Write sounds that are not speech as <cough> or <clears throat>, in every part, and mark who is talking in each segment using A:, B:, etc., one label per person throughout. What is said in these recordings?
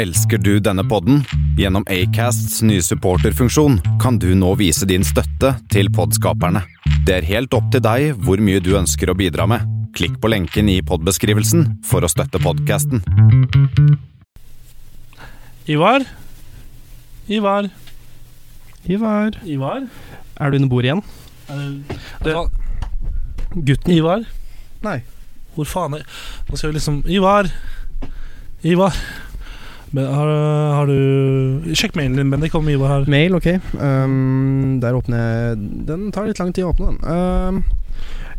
A: Elsker du denne podden? Gjennom Acasts nye supporterfunksjon kan du nå vise din støtte til podskaperne. Det er helt opp til deg hvor mye du ønsker å bidra med. Klikk på lenken i podbeskrivelsen for å støtte podkasten.
B: Ivar? Ivar?
C: Ivar.
B: Ivar?
C: Er du under bordet igjen?
B: Er det-
C: Det-
B: Fa-
C: Gutten
B: Ivar?
C: Nei.
B: Hvor faen er Nå skal vi liksom Ivar! Ivar! Men har, har du Sjekk mailen din, Bendik, om Ivar har
C: Mail, ok. Um, der åpner jeg Den tar litt lang tid å åpne, den. Um,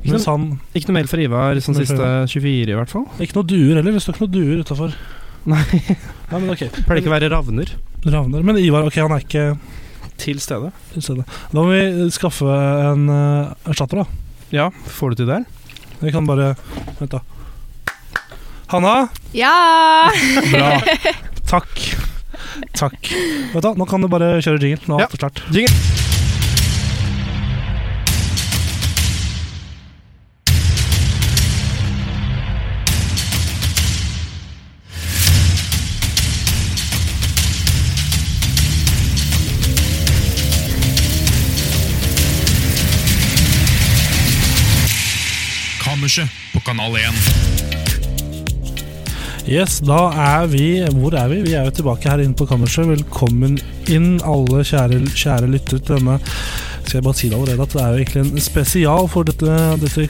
C: ikke,
B: Mens
C: noe,
B: han
C: ikke noe mail fra Ivar sånn
B: Nei,
C: siste 24, i hvert fall.
B: Ikke noe duer heller. Det står ikke noe duer utafor.
C: Nei,
B: <laughs> Nei, men ok.
C: pleier ikke å være ravner
B: Ravner. Men Ivar, ok, han er ikke
C: til stede.
B: til stede. Da må vi skaffe en eh, erstatter, da.
C: Ja, får du til det?
B: Vi kan bare Vent, da. Hanna,
D: Ja!
C: Bra. <laughs>
B: takk. Takk. Vet du, hva, nå kan du bare kjøre jingle. Nå er
C: Ja.
B: alt klart.
C: Jingle.
E: Kammerset på Kanal 1.
B: Yes, da er vi Hvor er vi? Vi er jo tilbake her inne på kammerset. Velkommen inn, alle kjære, kjære lyttere til denne. Skal jeg bare si det allerede at det er jo egentlig en spesial for dette, dette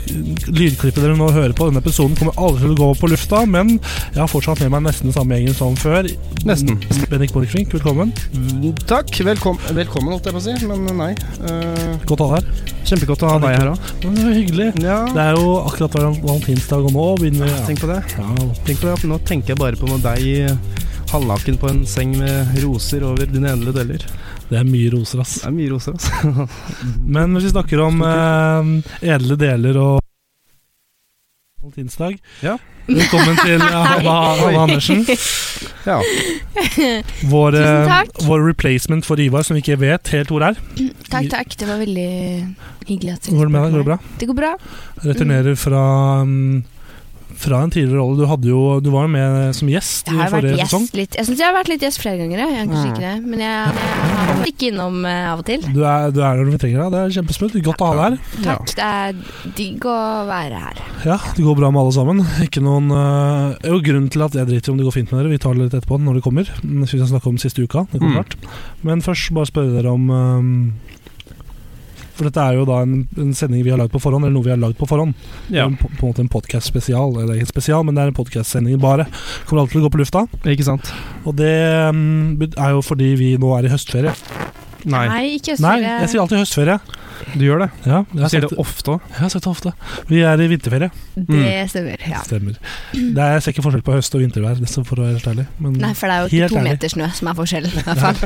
B: lydklippet dere nå hører på. Denne episoden kommer aldri til å gå på lufta, men jeg har fortsatt med meg nesten den samme gjengen som før.
C: Nesten.
B: Bendik Borchgrevink, velkommen.
C: Mm. Takk. Velkommen, velkommen holdt jeg på å si, men nei. Uh,
B: Godt å ha deg her.
C: kjempegodt å ha deg her òg.
B: Men Det var hyggelig.
C: Ja,
B: Det er jo akkurat val- valentinsdag, og nå begynner vi ja.
C: tenk på det.
B: Ja,
C: Tenk på det at nå tenker jeg bare på noe deg eh, halvnaken på en seng med roser over dine endelige deler.
B: Det er mye roser, ass.
C: Det er mye roser, altså.
B: Men hvis vi snakker om eh, edle deler og valentinsdag
C: Ja.
B: Velkommen til
C: <laughs>
B: eh, Hanna, Hanna Andersen.
C: Ja.
B: Vår,
D: Tusen
B: eh,
D: takk.
B: vår replacement for Ivar, som vi ikke vet helt hvor er.
D: Takk, takk. Det var veldig hyggelig at
B: Går det med deg? Går det bra?
D: Det går bra.
B: Returnerer fra mm, fra en tidligere rolle. Du, hadde jo, du var jo med som gjest
D: Jeg
B: i
D: har vært
B: forrige sesong.
D: gjest litt Jeg syns jeg har vært litt gjest flere ganger, jeg. jeg. er Kanskje ikke det. Men jeg, jeg har vært ikke innom eh, av og til.
B: Du er, du er når vi trenger deg. Det er kjempesmooth. Godt å ha deg her.
D: Takk. Det er digg å være her.
B: Ja, det går bra med alle sammen. Ikke noen øh, Jo, grunnen til at jeg driter i om det går fint med dere, vi tar det litt etterpå når det kommer. Mm, Så vi kan snakke om siste uka. Det kommer
C: Mm.
B: snart. Men først bare spørre dere om øhm, For dette er jo da en, en sending vi har lagd på forhånd, eller noe vi har lagd på forhånd. Det er En, på, på en måte en podkast spesial. Eller ikke spesial, men det er en podkast-sending bare. Kommer alltid til å gå på lufta.
C: Ikke sant?
B: Og det øhm, bet- er jo fordi vi nå er i høstferie.
C: Nei,
D: ikke
B: Nei,
D: Østfold.
B: jeg sier alltid høstferie.
C: du gjør det.
B: Ja, jeg
C: Du
B: har
C: sier
B: sagt
C: det
B: det-
C: ofte òg.
B: jeg har sagt det ofte. Vi er i vinterferie.
D: Det
B: Mm.
D: stemmer. Ja.
B: Stemmer. Det er, jeg ser ikke forskjell på høst- og vintervær, så for å være helt ærlig. Men,
D: Nei, for det er jo ikke
B: Helt
D: to
B: ærlig.
D: meter snø som er forskjellen, i
B: <laughs>
D: hvert fall.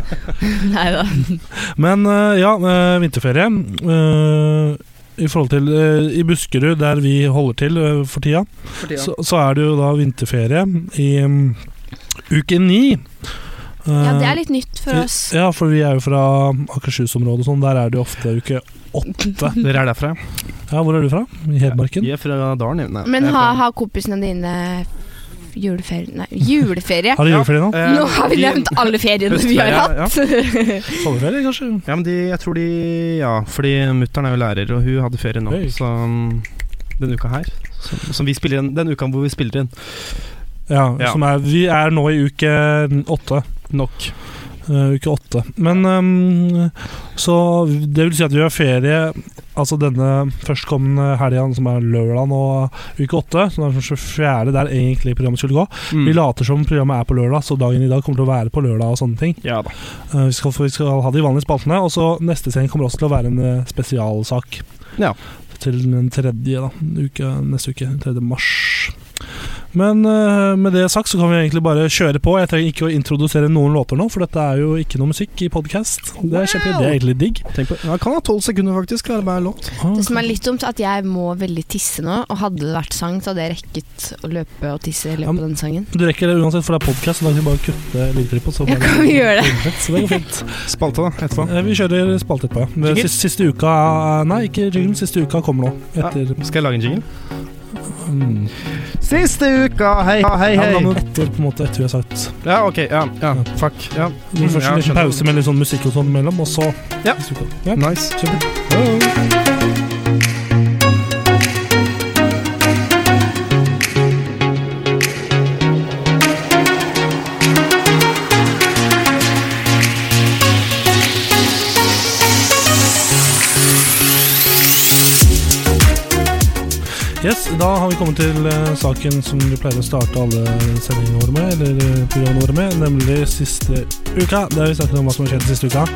D: Nei da.
B: men øh, ja, øh, vinterferie. øh, I forhold til øh, I Buskerud, der vi holder til øh, for tida, så, så er det jo da vinterferie i mm, uke ni. Eh,
D: Ja, det er litt nytt for oss.
B: Ja, for vi er jo fra Akershus-området og sånn. Der er det jo ofte uke åtte.
C: Dere er derfra?
B: Ja, hvor er du fra? I Hedmarken?
C: Vi er fra Dalen. ja. Nei,
D: Men
C: jeg er
D: har
C: fra-
D: har kompisene dine juleferie Nei, juleferie?
B: Har du juleferie nå?
C: Eh,
D: Nå har vi
C: de-
D: nevnt alle feriene vi har hatt.
C: Høstferie,
B: Sommerferie, kanskje?
C: Ja, men de, jeg tror de Ja, fordi mutter'n er jo lærer, og hun hadde ferie nå,
B: Oi.
C: så um, denne uka her. Som, som vi spiller inn Den uka hvor vi spiller inn.
B: Ja,
C: Ja.
B: Som er, vi er nå i uke åtte.
C: Nok.
B: Eh, uke åtte. Men ehm, Så det vil si at vi har ferie Altså denne førstkommende helga, som er lørdag nå, uke åtte. Som er den 24. der egentlig programmet skulle gå.
C: Mm.
B: Vi later som programmet er på lørdag, så dagen i dag kommer til å være på lørdag og sånne ting.
C: Ja da.
B: Eh, vi, skal, få- vi skal ha de vanlige spaltene. Og så neste sending kommer også til å være en eh, spesialsak.
C: Ja.
B: Til den tredje da, uke, neste uke. 3. mars. Men eh, med det sagt så kan vi egentlig bare kjøre på. Jeg trenger ikke å introdusere noen låter nå, for dette er jo ikke noe musikk i podkast. Det er kjempe, det er egentlig digg. Ah,
C: Tenk på, ja, kan ha tolv sekunder, faktisk. Klarer hver låt.
D: Det som er litt dumt, er at jeg må veldig tisse nå, og hadde det vært sang, så hadde jeg rekket å løpe og tisse i
B: Ja,
D: løpet
B: men-
D: av den sangen.
B: Du rekker det uansett, for det er podkast, så da kan vi bare kutte lydklippet. og Så,
D: Ja,
B: bare-
D: kan vi gjøre det?
B: så det går fint.
C: Spalte, da. Etterpå.
B: Eh, Vi kjører spalte etterpå. ja.
C: Jingle?
B: Siste, siste uka Nei, ikke jingle. Siste uka kommer nå. Etter
C: Skal jeg lage en jingle?
B: Mm.
C: Siste uka, hei, hei,
B: Ja, men da må
C: hei.
B: du etter, på en måte, etter vi har sagt
C: Ja, ok, ja, ja, fuck. Ja.
B: Vi må først en
C: Mm, Ja,
B: liten
C: skjønner.
B: pause med litt sånn musikk og sånn imellom, og så
C: Ja.
B: ja.
C: Nice.
B: kjempebra. Yes, Da har vi kommet til eh, saken som vi pleier å starte alle sendingene våre med, eller eh, programmene våre med, nemlig siste uka. Der vi snakker om hva som har skjedd siste uka.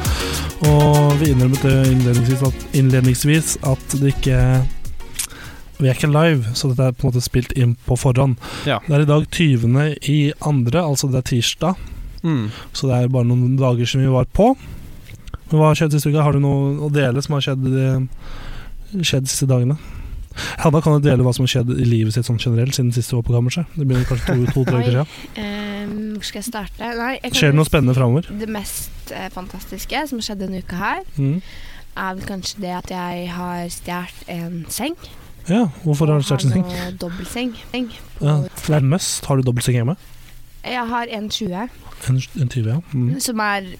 B: Og vi innrømmet det innledningsvis at, innledningsvis at det ikke Vi er ikke live, så dette er på en måte spilt inn på forhånd.
C: Ja.
B: Det er i dag 20. i andre, altså det er tirsdag,
C: Mm.
B: så det er bare noen dager siden vi var på. Men hva har skjedd siste uka? Har du noe å dele som har skjedd, eh, skjedd de siste dagene? Hanna kan jo dele hva som har skjedd i livet sitt sånn generelt siden sist du var på kammerset. Det begynner kanskje to-tre uker siden.
F: Ehm, hvor skal jeg starte? Nei, jeg kan
B: Skjer det noe spennende framover?
F: Det mest eh, fantastiske som skjedde denne uka her,
B: Mm.
F: er vel kanskje det at jeg har stjålet en seng.
B: Ja, hvorfor har du stjålet en seng?
F: Har nå Dobbeltseng. Seng.
B: Ja, for det er en must. Har du dobbeltseng hjemme?
F: Jeg har en 20,
B: En, en 20, ja. Mm.
F: som er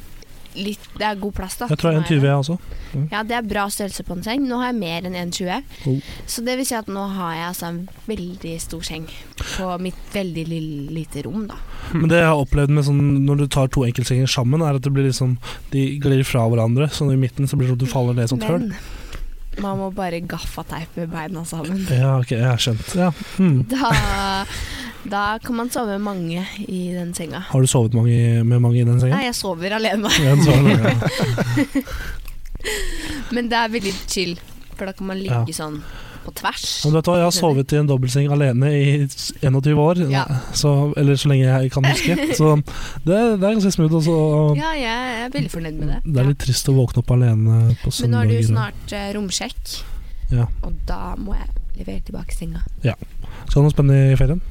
F: litt Det er god plass, da.
B: Jeg tror jeg er en 20, jeg også.
F: Ja, det er bra størrelse på en seng. Nå har jeg mer enn 1,20.
B: Oh.
F: Så det vil si at nå har jeg altså en veldig stor seng på mitt veldig lille, lite rom, da.
B: Men det jeg har opplevd med sånn, når du tar to enkeltsenger sammen, er at det blir liksom, de glir fra hverandre. Så i midten så blir det sånn at du faller ned i et sånt hull.
F: Men man må bare gaffateipe beina sammen. <laughs>
B: Ja, ok, jeg har skjønt. Ja. Hmm.
F: Da, da kan man sove mange i den senga.
B: Har du sovet mange, i- med mange i den sengen?
F: Nei, jeg sover alene,
B: <laughs>
F: <laughs>
B: Ja, du sover mange, ja.
F: men det er veldig chill. For da kan man ligge
B: Ja.
F: sånn på tvers.
B: Men vet du hva, jeg har sovet i en dobbeltseng alene i 21 år,
F: Ja.
B: så, eller så lenge jeg kan
F: <laughs>
B: huske. Så det, det er ganske smooth også. og
F: Ja, jeg er veldig fornøyd med det.
B: Det er litt trist å våkne opp alene på
F: Men nå er
B: søndager.
F: det jo snart eh, romsjekk,
B: Ja.
F: og da må jeg levere tilbake senga.
B: Skal du ha noe spennende i ferien?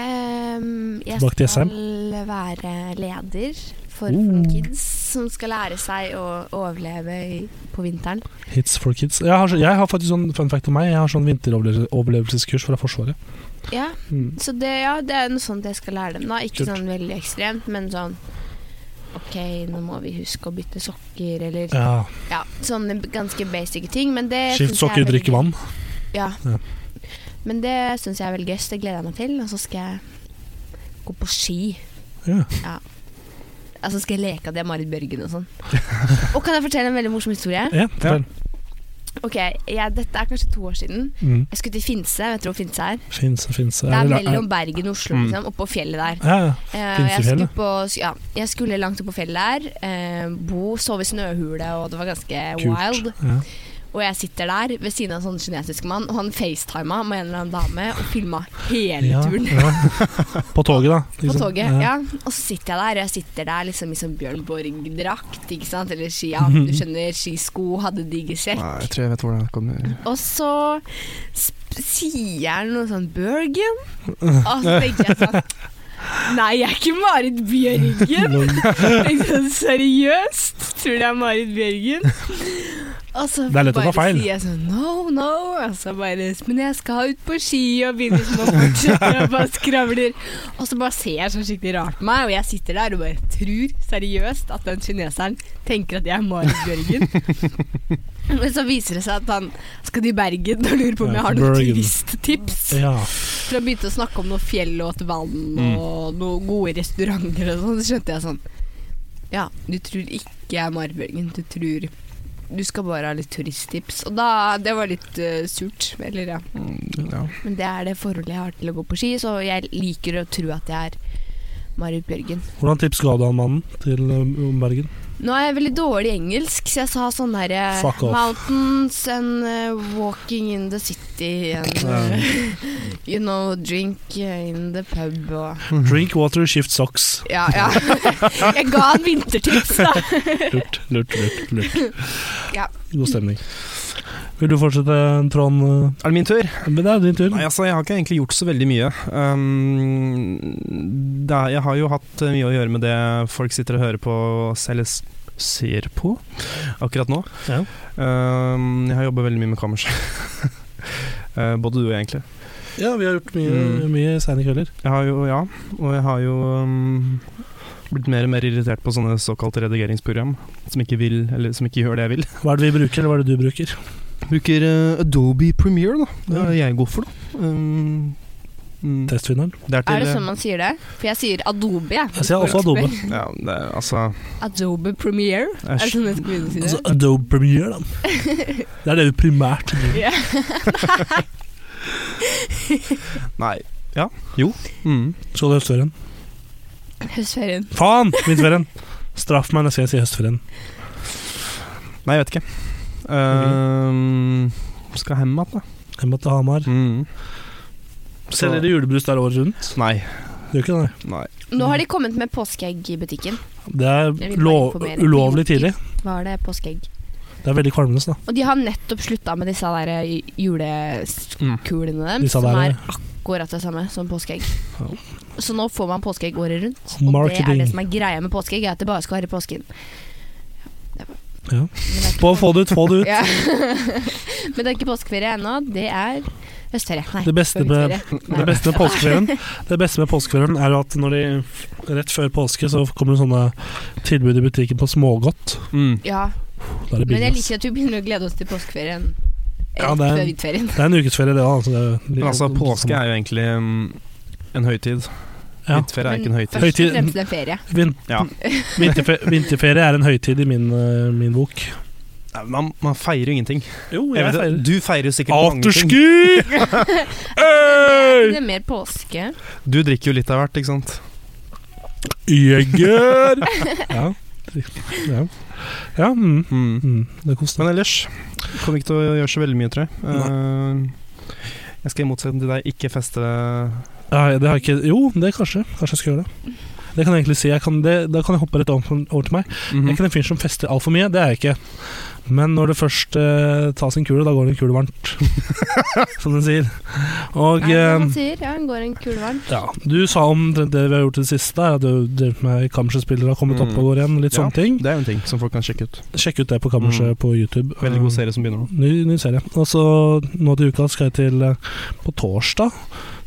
F: Ehm, jeg
B: Tilbake til SM.
F: skal være leder for
B: Oh.
F: noen kids som skal lære seg å overleve i, på vinteren.
B: Hits for kids. Jeg har, så- jeg har faktisk sånn fun fact om meg. Jeg har sånn vinteroverlevelseskurs fra Forsvaret.
F: Ja,
B: Mm.
F: så det, ja, det er noe sånt jeg skal lære dem. da Ikke
B: Kult.
F: sånn veldig ekstremt, men sånn Ok, nå må vi huske å bytte sokker, eller ja.
B: Ja.
F: sånne ganske basic ting. Men det
B: Skift
F: synes jeg er
B: sokker,
F: veldig-
B: drikke vann.
F: Ja.
B: Ja.
F: Men det syns jeg er veldig gøy, så det gleder jeg meg til. Og så skal jeg gå på ski.
B: Ja.
F: Altså skal jeg leke at jeg er Marit Bjørgen og sånn. og kan jeg fortelle en veldig morsom historie? <laughs>
B: Ja, fortell.
F: Ok, jeg, Dette er kanskje to år siden.
B: Mm.
F: Jeg skulle til Finse. Vet dere hvor Finse er?
B: Fins, fins.
F: Det er mellom Bergen og Oslo,
C: Mm.
F: liksom. Oppå fjellet der.
B: ja, ja.
F: Eh, jeg, skulle
B: Finsefjellet?
F: på, ja, jeg skulle langt oppå fjellet der. eh, bo, sove i snøhule, og det var ganske
B: Kult.
F: wild.
B: Ja.
F: Og jeg sitter der ved siden av en sånn kinesisk mann, og han facetima med en eller annen dame og filma hele
B: Ja, <laughs> liksom,
F: turen. <laughs>
B: ja. På toget, da.
F: På
B: liksom.
F: toget, ja. Og så sitter jeg der, og jeg sitter der liksom i sånn Bjørn Borg-drakt, ikke sant. Eller ski, ja,
B: Mhm.
F: du skjønner, skisko, hadde digge sekk.
C: Nei, jeg tror jeg vet hvor det kommer.
F: Og så sp sier han noe sånn Børgen.
B: <laughs>
F: Og så tenker jeg sånn Nei, jeg er ikke Marit Bjørgen. <laughs> Tenkte sånn, Seriøst? Tror du jeg er Marit Bjørgen? Og så
B: Det er lett å ta
F: bare
B: feil.
F: sier jeg sånn no, no. Og så bare Men jeg skal ut på ski, og begynner sånn å fortsette og bare skravler. Og så bare ser jeg sånn skikkelig rart på meg, og jeg sitter der og bare tror seriøst at den kineseren tenker at jeg er Marit Bjørgen. Men så viser det seg at han skal til Bergen og lurer på om
B: Ja,
F: jeg har noen
B: Bergen.
F: turisttips.
B: Ja.
F: For han begynte å snakke om noe fjell og et vann
C: Mm.
F: og noen gode restauranter og sånn, så skjønte jeg sånn Ja, du tror ikke jeg er Marit Bjørgen, du tror du skal bare ha litt turisttips. Og da Det var litt eh, surt. Eller, ja.
C: Mm, Ja.
F: Men det er det forholdet jeg har til å gå på ski, så jeg liker å tro at jeg er Marit Bjørgen.
B: Hvordan tips ga du han mannen til eh, om Bergen?
F: Nå er jeg veldig dårlig i engelsk, så jeg sa sånn herre
B: Fuck off.
F: Mountains and eh, walking in the city and eh, <laughs> You know, drink eh, in the pub og
B: Drink water, shift socks.
F: Ja, ja. <laughs> Jeg ga han
B: <laughs>
F: vintertips, da.
B: Lurt, lurt, lurt. lurt.
F: <laughs> Ja.
B: God stemning. Vil du fortsette, Trond? Eh,
C: Er det min tur?
B: Men det er din tur.
C: Nei, altså, jeg har ikke egentlig gjort så veldig mye. Um, det, er- jeg har jo hatt eh, mye å gjøre med det folk sitter og hører på og selv s- ser på akkurat nå.
B: Ja.
C: Um, jeg har jobba veldig mye med kammers. <laughs> Eh, både du og jeg, egentlig.
B: Ja, vi har gjort mye,
C: Mm.
B: mye seine kvelder.
C: Jeg har jo, ja, og jeg har jo um, blitt mer og mer irritert på sånne såkalte redigeringsprogram som ikke vil, eller som ikke gjør det jeg vil.
B: Hva er det vi bruker, eller hva er det du bruker?
C: Bruker eh, Adobe Premiere, da. Det er jeg god for, da. Um, mm,
B: Testvinneren.
C: det er til
F: Er det sånn man sier det? For jeg sier Adobe, jeg.
B: Jeg sier også
F: <laughs>
B: Adobe.
C: Ja, det er, altså
F: Adobe Premiere.
C: jeg
F: Er det
C: er
F: sånn jeg skal begynne å si det?
B: Altså, Adobe Premiere,
F: <laughs>
B: da. Det er det vi primært bruker.
F: Ja.
C: sj- Nei. Ja. Jo. Mm.
B: Skål i høstferien. øh.
F: Høstferien.
B: Faen! Vinterferien! Straff meg neste gang jeg sier høstferien.
C: Nei, jeg vet ikke. Um, skal hjem igjen, da.
B: Jeg måtte ha Hamar.
C: Mm.
B: Selger dere julebrus der året rundt?
C: Nei.
B: Gjør ikke det?
C: Nei.
F: Nå har de kommet med påskeegg i butikken.
B: Det
F: Jeg
B: er
F: vil bare
B: lov,
F: informere.
B: ulovlig tidlig.
F: Var det påskeegg?
B: Det er veldig kvalmende. da.
F: Og de har nettopp slutta med disse der eh, julekulene deres,
B: Mm. Disse
F: som
B: der-
F: er akkurat det samme som påskeegg.
B: Ja.
F: Så nå får man påskeegg året rundt. Og det er det
B: Marketing.
F: som er greia med påskeegg, er at det bare skal være i påsken. Ja, det er-
B: Ja.
F: Men det er ikke-
B: Få, få det ut, få det ut.
F: <laughs> Ja. Men det er ikke påskeferie ennå, det er høstferie. Nei,
B: Det beste med-
F: høstferie. Nei.
B: Det beste med påskeferien Det beste med påskeferien er jo at når de, rett før påske så kommer det sånne tilbud i butikken på smågodt.
C: Mm.
F: Ja,
B: Da er det
F: men
B: billig.
F: jeg
B: ass.
F: liker at vi begynner å glede oss til påskeferien.
B: Ja,
F: Rett
B: det er-
F: før vinterferien.
B: Det er en ukesferie, det da. Altså, det er-
C: Men altså, påske er jo egentlig um, en høytid.
B: Ja.
C: Vinterferie er ikke en
F: Men
C: høytid.
F: Først og
B: Høytid-
F: fremst en ferie.
B: Vin
C: Ja.
B: vinterfe vinterferie er en høytid i min, eh, min bok.
C: Nei, Man, man feirer jo ingenting.
B: Jo,
C: Jeg vet, det. du feirer jo sikkert mange ting.
F: <laughs>
B: Afterski!
F: Det
B: Hey!
F: er mer påske.
C: Du drikker jo litt av hvert, ikke sant?
F: <laughs>
B: Jeger! Ja. Ja, ja mm.
C: Mm.
B: Mm. det koster.
C: Men ellers kommer ikke til å gjøre så veldig mye, tror jeg. Eh, jeg skal i motsetning til deg ikke feste
B: Nei, det har jeg ikke Jo, det kanskje. Kanskje jeg skal gjøre det. Det kan jeg egentlig si. Jeg kan, det, da kan jeg hoppe rett over, over til meg.
C: Mhm.
B: Jeg er ikke den fyren som fester altfor mye, det er jeg ikke. Men når det først eh, tas en kule, da går det en kule varmt. <laughs> som den sier. Og
F: Nei,
B: eh,
F: som man sier, ja, hun går en kule varmt.
B: ja, du sa omtrent det vi har gjort i det siste, er at du drev med kammerspillere har kommet
C: Mm.
B: opp og går igjen. Litt
C: Ja.
B: sånne ting.
C: Det er jo en ting som folk kan sjekke ut. Mm.
B: Sjekk ut det på kammerset på YouTube. Um,
C: Veldig god serie som begynner nå.
B: Ny, ny serie. Og så nå til uka skal jeg til eh, På torsdag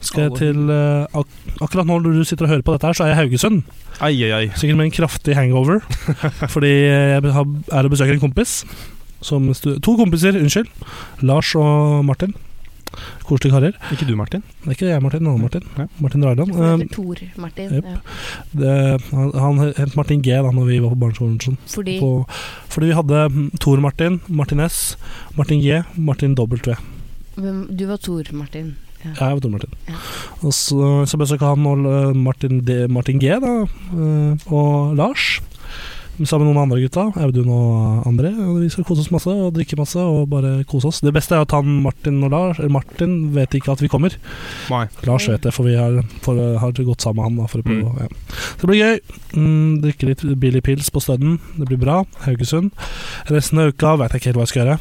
B: skal jeg
C: Alle.
B: til eh, ak Akkurat nå når du sitter og hører på dette her, så er jeg i Haugesund.
C: Ai, ai, ai.
B: Sikkert med en kraftig hangover, fordi jeg har- er og besøker en kompis. Som stu to kompiser, unnskyld. Lars og Martin. Koselige karer.
C: Ikke du, Martin?
B: Det er ikke jeg, Martin. en annen Martin.
C: Ja.
B: Martin Dragland.
F: Hun
B: Eh,
F: heter Tor Martin.
B: Jep.
F: Ja.
B: det- han- han het Martin G da når vi var på barneskolen. sånn.
F: Fordi
B: På, fordi vi hadde mm, Tor Martin, Martin S, Martin G, Martin W.
F: hvem- du var Tor Martin.
B: Ja, Jeg var Tor Martin.
F: Ja.
B: Og så, så besøker han og eh, Martin, D, Martin G da, eh, og Lars. Sammen med noen andre gutta, Audun og André. Og Vi skal kose oss masse og drikke masse og bare kose oss. Det beste er at han Martin og Lars eller Martin vet ikke at vi kommer.
C: Nei.
B: Lars vet det, for vi har, for, har gått sammen med han. Da, for å prøve, å- ja. Så det blir gøy. Mm, drikke litt billig pils på Stødden. Det blir bra. Haugesund. Resten av uka veit jeg ikke helt hva jeg skal gjøre.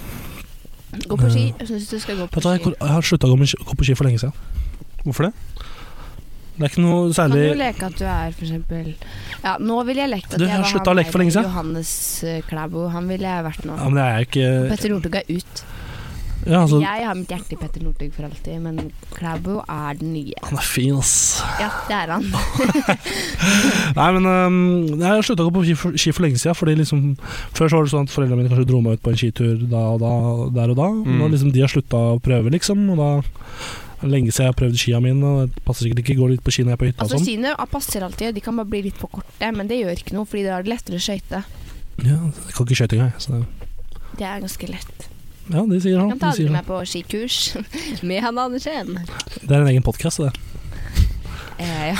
F: Gå på ski. Jeg syns du skal gå på
B: Vet du hva,
F: ski.
B: Jeg jeg har slutta å gå med ski- gå på ski for lenge siden.
C: Hvorfor det?
B: Det er ikke noe
F: Kan
B: særlig
F: du leke at du er for eksempel Ja, nå ville jeg lekt at
B: Du,
F: jeg
B: jeg
F: var
B: slutta
F: han
B: å leke for lenge
F: der,
B: siden.
F: Johannes eh, Klæbo. Han ville jeg vært nå.
B: Ja, men det er jo ikke
F: Petter Northug er ut.
B: ja, altså,
F: Jeg har mitt hjerte i Petter Northug for alltid, men Klæbo er den nye.
B: Han er fin, ass.
F: Ja, det er han.
B: Ah, Nei, men øhm, jeg har slutta å gå på ski for, ski for lenge siden. Fordi liksom, før så var det sånn at foreldrene mine kanskje dro meg ut på en skitur da og da, der og da.
C: Mm.
B: Nå liksom de har slutta å prøve, liksom. Og da det er lenge siden jeg har prøvd skia mine. Og det passer sikkert ikke å gå litt på ski når jeg er på hytta
F: Altså,
B: og sånn.
F: Skiene passer alltid, de kan bare bli litt for korte, men det gjør ikke noe, fordi da er det lettere å skøyte.
B: Ja, jeg kan ikke skøyte engang. Så
F: Det er ganske lett.
B: ja, de sier
F: Jeg
B: sånn.
F: kan
B: De
F: ta dere
B: sier
F: med på skikurs <laughs> med Hanne Andersen.
B: sånn. Det er en egen podkast, det.
F: Eh, ja.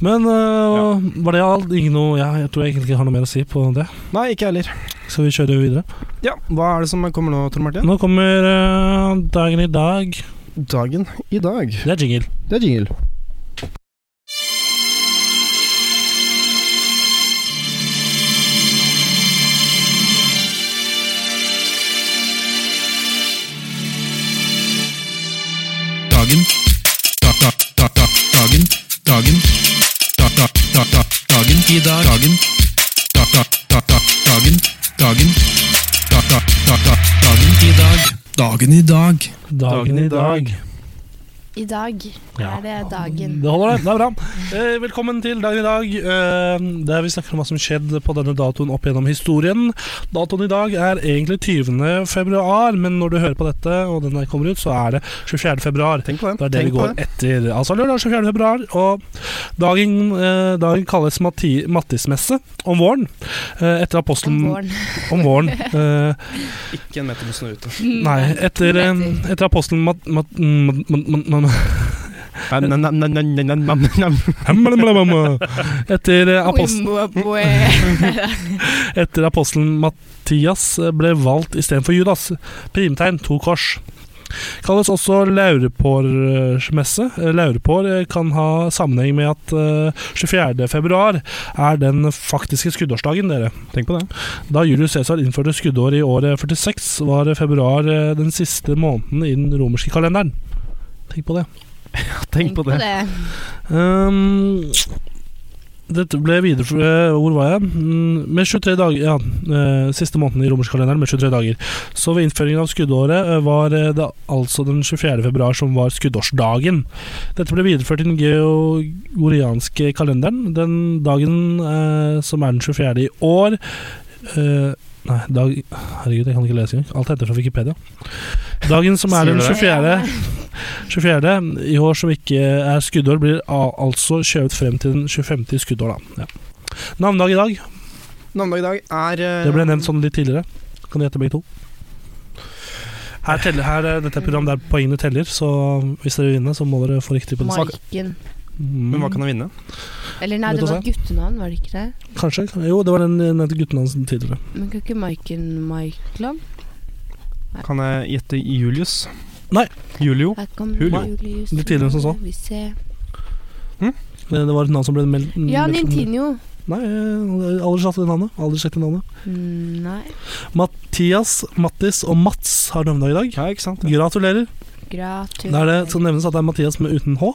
B: Men øh, var det alt? Ikke noe ja, Jeg tror jeg egentlig ikke har noe mer å si på det.
C: Nei, ikke jeg heller.
B: Så vi kjører videre.
C: Ja, hva er det som kommer nå, Tor Martin?
B: Nå kommer øh, dagen i dag.
C: Dagen i dag.
B: Det er jingle.
C: Det er jingle.
E: dagen da, da, da, da, dagen dagen da, da, da, da, dagen i dag dagen da, da, da, da, dagen dagen da, da, da, da, dagen i dag Dagen i dag.
B: Dagen i dag.
F: I dag
B: Ja.
F: er det dagen.
B: Det holder, det. Det er bra. Eh, velkommen til dagen i dag, eh, der vi snakker om hva som skjedde på denne datoen opp gjennom historien. Datoen i dag er egentlig 20. februar, men når du hører på dette, og den her kommer ut, så er det 24. februar.
C: Tenk på det.
B: Det er det vi
C: Tenk på
B: går etter. Altså lørdag 24. februar. Og dagen, eh, dagen kalles Matti, Mattismesse om våren. Eh, etter apostelen
F: Om våren.
B: Om våren. Eh,
C: Ikke en meter med snø ute.
B: nei, etter, eh, etter apostelen Mat... Mat, mat, mat, mat, mat Etter eh,
F: <laughs>
B: apostelen, etter apostelen Mattias eh, ble valgt istedenfor Judas. Primtegn to kors. Kalles også laurepårmesse. Eh, Laurepår eh, kan ha sammenheng med at eh, 24. februar er den faktiske skuddårsdagen, dere.
C: Tenk på det.
B: Da Julius Cæsar innførte skuddår i året 46, var februar eh, den siste måneden i den romerske kalenderen. Tenk på det.
C: Tenk på det.
B: Ehm, dette ble videre eh, Hvor var jeg? Mm, Med 23 dager Ja, eh, siste måneden i romerskalenderen med 23 dager. Så ved innføringen av skuddåret eh, var eh, det altså den 24. februar som var skuddårsdagen. Dette ble videreført i den georgianske kalenderen. Den dagen eh, som er den 24. i år eh, Nei, dag, herregud, jeg kan ikke lese engang. Alt heter fra Wikipedia. Dagen som er den
C: Sier
B: 24. <laughs> 24. i år som ikke er skuddår, blir a- altså skjøvet frem til den 25. i skuddår, da. Ja. Navnedag i dag.
C: Navnedag i dag er eh,
B: Det ble nevnt sånn litt tidligere. Kan du gjette begge to? Her teller, her, er dette er et program der poengene teller, så hvis dere vil vinne, så må dere få riktig på det.
F: Marken.
B: Mm.
C: Men hva kan jeg vinne?
F: Eller nei,
B: Vet
F: det
B: du
F: var et guttenavn, var det ikke det?
B: Kanskje? Jo, det var den nevnte gutten hans tidligere.
F: Men kan ikke Maiken Maikland?
C: Kan jeg gjette Julius?
B: Nei.
C: Julio?
F: Her kom
C: Julio.
F: Julius
B: Litt tidligere som så.
F: Vi ser.
B: Det det var et navn som ble meldt
F: Ja,
B: meldt-
F: Nintinho.
B: Nei, jeg har aldri sagt det navnet. Aldri sagt det navnet.
F: Mm, Nei,
B: Mathias, Mattis og Mats har navnedag i dag.
C: Ja, ikke sant?
B: Gratulerer.
F: gratulerer.
B: Da er det sånn- skal nevnes at det er Mathias med uten H.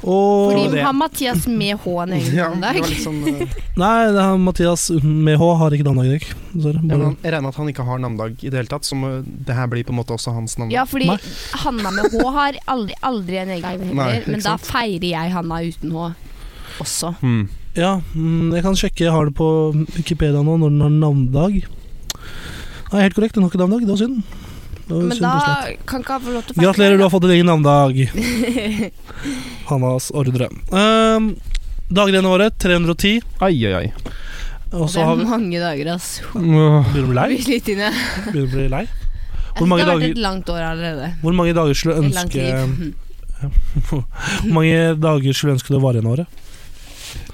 F: Fordi
B: Og
C: det-
F: de har Mathias med H-en egen
C: <laughs> Ja, det
F: dag.
C: var litt sånn eh,
B: Nei, det er Mathias uten med H har ikke navnedag i dag. Dessverre.
C: ja,
B: Bare-
C: men Jeg regner med at han ikke har navnedag i det hele tatt, så må- det her blir på en måte også hans navn.
F: Ja, fordi
B: Nei.
F: Hanna med H har aldri, aldri en egen dag
C: sånn. Nei,
F: heller,
C: ikke
F: men da feirer jeg Hanna uten H også.
C: Hmm.
B: Ja, mm, jeg kan sjekke. Jeg har det på Wikipedia nå når den har navnedag. Nei, helt korrekt. Den har ikke navnedag. Det var synd. Det var
F: Men
B: synd og slett.
F: da kan ikke han få lov til å feire.
B: Gratulerer, du har fått din egen <laughs> navnedag. Hannas ordre. Um, dager igjen av året 310.
C: Ai, ai, ai.
B: Og så
F: Det
B: har
F: er
B: vi
F: mange dager, ass.
B: Begynner du å bli lei?
D: Blir litt inne.
B: Begynner du å bli lei?
F: Jeg synes
B: mange
F: det har
B: dager-
F: vært et langt år allerede.
B: Hvor mange dager skulle du
F: Et langt
B: ønske
F: liv. <laughs>
B: Hvor mange dager skulle du ønske det var igjen av året?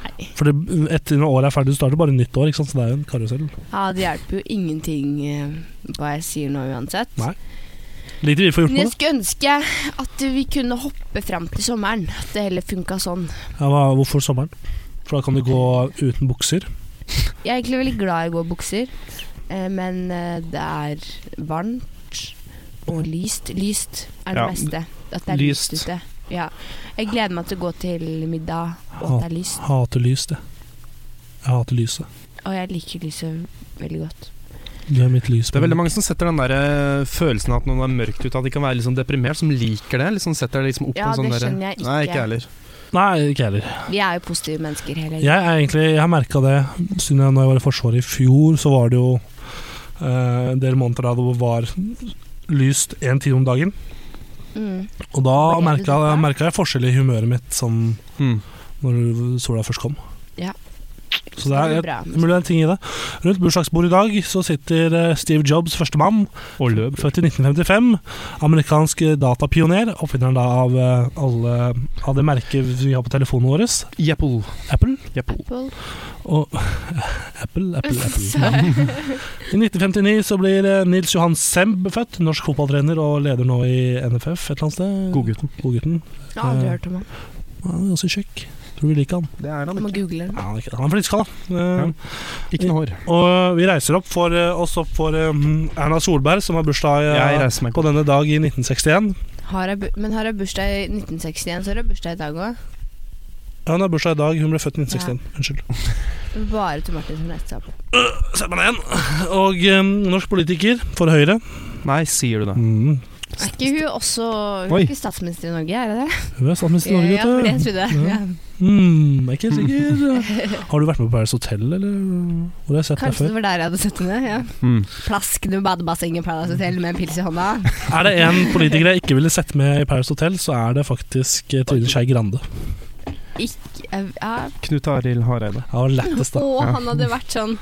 F: Nei.
B: For det, etter når året er ferdig, du starter bare nytt år, ikke sant? så det er jo en karusell.
F: Ja, det hjelper jo ingenting eh, hva jeg sier nå uansett.
B: Nei. Lite vi får gjort
F: Men
B: med
F: jeg
B: det.
F: skulle ønske at vi kunne hoppe fram til sommeren. At det heller funka sånn.
B: Ja, hva, hvorfor sommeren? For da kan du gå uten bukser.
F: Jeg er egentlig veldig glad i å gå i bukser, eh, men eh, det er varmt og lyst. Lyst er det
C: Ja,
F: beste. At det er lyst.
C: lyst.
F: ute. Ja. Jeg gleder meg til å gå til middag, og at det er lyst.
B: Hater lys, det. Jeg hater lyset.
F: Og jeg liker lyset veldig godt.
B: Du er mitt lys.
C: Det er veldig mange som setter den der eh, følelsen av at når det er mørkt ute, at de kan være litt sånn deprimert, som liker det. Liksom setter det liksom opp på
F: Ja,
C: en sånn
F: det
C: der-
F: skjønner jeg
C: Nei,
F: ikke.
C: ikke jeg heller.
B: Nei, ikke jeg heller.
F: Vi er jo positive mennesker hele
B: Jeg er egentlig, jeg har merka det siden jeg, når jeg var i Forsvaret i fjor, så var det jo eh, en del måneder da det var lyst én time om dagen.
F: Mm.
B: Og da
F: Ble det
B: merka
F: dritbra?
B: merka jeg forskjell i humøret mitt sånn
C: Hmm.
B: når sola først kom.
F: Ja.
B: Så det er,
F: blir bra.
B: det er mulig det er en ting i det. Rundt bursdagsbordet i dag så sitter eh, Steve Jobs, førstemann,
C: Og løp.
B: født i 1955. Amerikansk eh, datapioner. Oppfinneren da av eh, alle av det merket vi har på telefonene våre.
C: Jeppel.
B: Apple.
C: Jeppel.
F: Apple.
B: Og <laughs> Apple, Apple,
D: <laughs>
B: Apple. I 1959 så blir eh, Nils Johan Semb født. Norsk fotballtrener og leder nå i NFF et eller annet sted.
C: Godgutten.
B: Godgutten.
F: Jeg har aldri hørt om han.
B: Han er ganske tjukk. Tror vi liker han.
C: Det er
F: Jeg
C: han.
F: må google den.
B: Ja, han er ikke det. Han er fliskalla. Eh,
C: Ja. Ikke noe hår.
B: Og vi reiser opp for, eh, oss opp for eh, Erna Solberg, som har bursdag eh,
C: Jeg reiser meg
B: på denne dag i 1961.
F: Har jeg, bu- men har jeg bursdag i 1961, så har jeg bursdag i dag òg.
B: Ja, Hun har bursdag i dag, hun ble født i 1961. Unnskyld.
F: Bare til Martin som reiste seg opp.
B: Sett meg ned igjen. Og eh, norsk politiker um, for Høyre.
C: Nei, sier du det.
B: Mm.
F: Er ikke hun også Hun
C: Oi.
F: er ikke statsminister i Norge, er det det?
B: Hun er statsminister i Norge,
D: Ja, for det
B: vet du.
D: trodde jeg. Ja.
B: Mm, jeg er ikke helt sikker. Har du vært med på Paris Hotel, eller hvor har jeg sett deg
D: Kanskje
B: før?
D: det var der jeg hadde sett henne. Ja.
C: Mm.
D: Plaskende badebassenget i Paradise Hotel med en pils i hånda.
B: Er det en politiker jeg ikke ville sett med i Paris Hotel, så er det faktisk eh, Trine Skei Grande.
F: Ikke jeg- ja.
C: Knut Arild Hareide.
B: Det var lettest, da.
D: Og han hadde vært sånn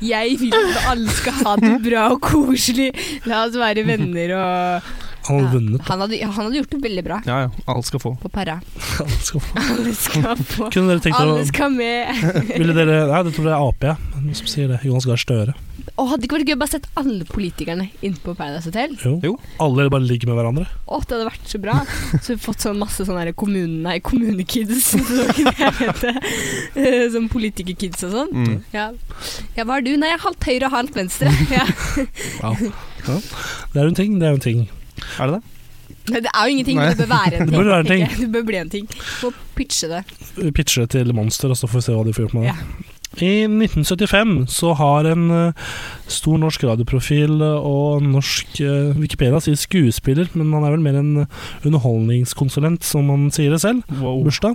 D: Jeg vil at alle skal ha det bra og koselig. La oss være venner og
B: Han hadde vunnet.
F: Han, hadde, han hadde gjort det veldig bra
C: Ja ja, alle skal få.
F: på para.
B: Han skal
D: <laughs>
B: få-
D: Alle skal få
B: Kunne dere tenkt
D: Alle
B: dere
D: skal med.
B: Ville dere Nei, det tror jeg er Ap, jeg. Noen som sier det. Jonas Gahr Støre.
D: Og hadde ikke vært gøy å bare sett alle politikerne inne på Paradise Hotel.
B: Jo.
C: Jo.
B: Alle bare ligger med hverandre.
D: Å, det hadde vært så bra. Så vi hadde fått sånn masse sånne her kommune, nei, kommunekids, <laughs> så kunne jeg hete. Eh, Sånn politikerkids og sånn.
C: Mm.
D: Ja. ja, hva er du? Nei, jeg er halvt høyre og halvt venstre. <laughs> Ja.
B: Det er jo en ting. Det er jo en ting.
C: Er det det?
D: Nei, det er jo ingenting,
C: Nei.
D: men det bør være en ting.
B: <laughs> Det bør være en ting.
D: tenker jeg. Det bør bli en ting. Må pitche det.
B: pitche til Monster, og så får vi se hva de får gjort med det. I 1975 så har en eh, stor norsk radioprofil eh, og norsk eh, Wikipedia sier skuespiller, men han er vel mer en underholdningskonsulent, som han sier det selv.
C: Wow.
B: Bursdag.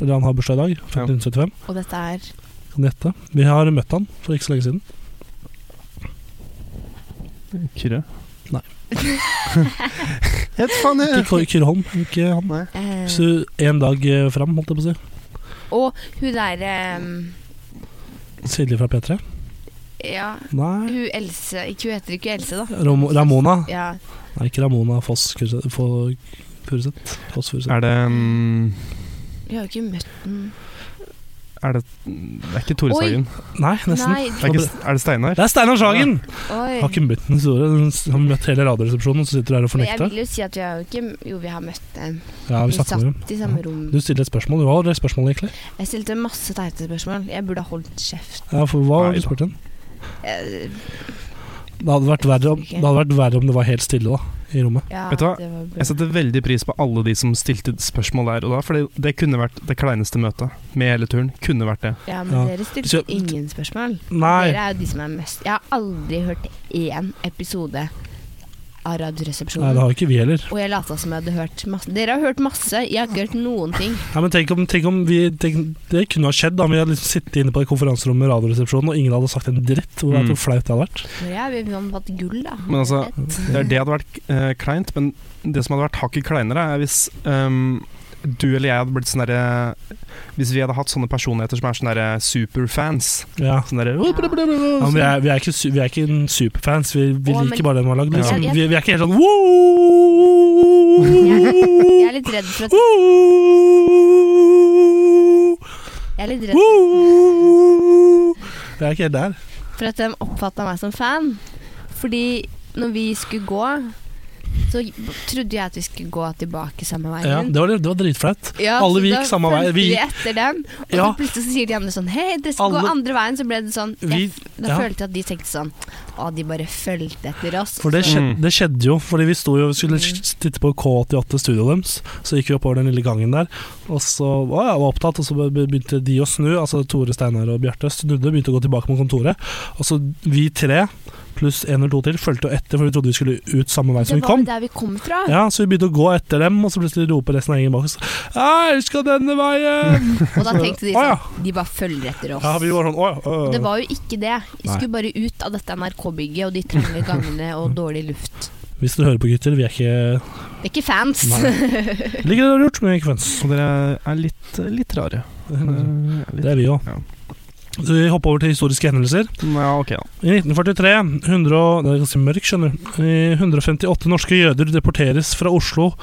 B: Eller han har bursdag i dag,
C: Oh. Ja.
B: 1975.
F: Og dette er
B: Kan du gjette? Vi har møtt han for ikke så lenge siden.
C: Kyrre?
B: Nei.
C: <laughs> Helt faen jeg.
B: Ikke Kåre Kyrre Holm, ikke han.
C: Nei.
F: eh,
B: Så en dag eh, fram, holdt jeg på å si.
F: Og hun derre ehm,
B: Silje fra P3.
F: Ja,
B: Nei.
F: hun Else ikke, Hun heter ikke Else, da.
B: Ram Ramona.
F: Ja.
B: Nei, ikke Ramona Foss Furuseth. Fo- Furuseth. Foss Furuseth.
C: Er det mm,
F: Vi har jo ikke møtt den
C: Er det Det er ikke Tore
F: Oi.
C: Sagen.
B: Nei, nesten.
F: Nei.
C: Er, ikke, er det Steinar?
B: Det er Steinar Sagen!
F: Oi.
B: Har ikke møtt den store. Har møtt hele Radioresepsjonen, og så sitter du her og
F: Men jeg
B: fornekter.
F: vil jo si at vi har jo ikke Jo, vi har møtt dem.
B: Ja,
F: Vi
B: vi snakker med dem.
F: satt i samme rom.
B: Du stiller et spørsmål. Hva var det spørsmålet, egentlig?
F: Jeg stilte masse teite spørsmål. Jeg burde ha holdt kjeft.
B: Ja, for hva var det du
C: Nei da.
B: spurte om?
F: Eh,
B: Det hadde, vært verre om, det hadde vært verre om det var helt stille da, i rommet.
F: Ja,
C: Vet du hva?
F: det var bra.
C: Jeg setter veldig pris på alle de som stilte spørsmål der og da, for det, det kunne vært det kleineste møtet med hele turen. Kunne vært det.
F: Ja, men
B: Ja.
F: dere stilte
B: Så-
F: ingen spørsmål.
B: Nei.
F: Dere er jo de som er mest Jeg har aldri hørt én episode av
B: Nei, det
F: Radioresepsjonen.
B: har jo ikke vi heller.
F: Og jeg lata som jeg hadde hørt masse. Dere har hørt masse, jeg har ikke hørt noen ting.
B: Nei, men tenk om, tenk om vi tenk, Det kunne ha skjedd da om vi hadde liksom sittet inne på et konferanserom med Radioresepsjonen, og ingen hadde sagt en dritt. Hvor
C: Mm.
B: mm. flaut det hadde vært.
F: Men ja, vi har fått gull, da.
C: Men altså,
F: Rett.
C: Det, det hadde vært eh, kleint, men det som hadde vært hakket kleinere, er hvis ehm, du eller jeg hadde blitt sånn derre Hvis vi hadde hatt sånne personligheter som er sånne derre superfans.
B: Ja.
C: Sånn derre
B: Ja, men vi, er, vi, er ikke, su- vi er ikke en superfans, vi, vi
F: Å, men-
B: liker bare den vi har lagd. Liksom.
F: Jeg- jeg-
B: Vi, vi er ikke helt sånn wow!
F: Jeg er litt redd for at Jeg er litt redd
B: Jeg er ikke helt der.
F: for at de oppfatta meg som fan. Fordi når vi skulle gå, så trodde jeg at vi skulle gå tilbake samme
B: Ja,
F: veien.
B: det, var, det var dritflaut.
F: Ja,
B: Alle
F: så
B: vi
F: da
B: gikk samme vei.
F: fulgte
B: Vi-
F: Vi etter dem, og
B: Ja.
F: så plutselig så sier de andre sånn Hei, dere skal
B: Alle-
F: gå andre veien. Så ble det sånn jeg,
B: Vi-
F: Da
B: ja.
F: følte jeg at de tenkte sånn Å, de bare fulgte etter oss.
B: For det
F: så,
B: skjedde, det skjedde jo, fordi vi sto jo vi skulle
F: Mm.
B: titte på K88 studioet deres. Så gikk vi oppover den lille gangen der, og så å, jeg var opptatt, og så be- begynte de å snu. Altså Tore Steinar og Bjarte snudde, begynte å gå tilbake mot kontoret. Og så vi tre, pluss én eller to til, fulgte jo etter, for vi trodde vi skulle ut samme vei som vi
F: det var
B: kom.
F: jo der vi kom fra.
B: Ja, Så vi begynte å gå etter dem, og så plutselig roper resten av gjengen bak oss «Jeg elsker denne veien!
F: Og da tenkte
B: Å,
F: de
B: ja.
F: sånn De bare følger etter oss.
B: Ja, vi var sånn, «Å, ja,
F: Og
B: øh,
F: Det var jo ikke det. Vi
B: Nei.
F: skulle bare ut av dette NRK-bygget og de trange gangene og dårlig luft.
B: Hvis dere hører på, gutter, vi er ikke
F: Det er ikke fans.
B: Ligger dere lurt, men vi er ikke fans.
C: Og dere er litt, litt rare. Eh,
B: Mm. Det
C: Litt.
B: er vi òg.
C: Ja.
B: Så vi hopper over til historiske hendelser.
C: Ja, ok, da.
B: I 1943, 100, og- det er ganske mørkt, skjønner du I 158 norske jøder deporteres fra Oslo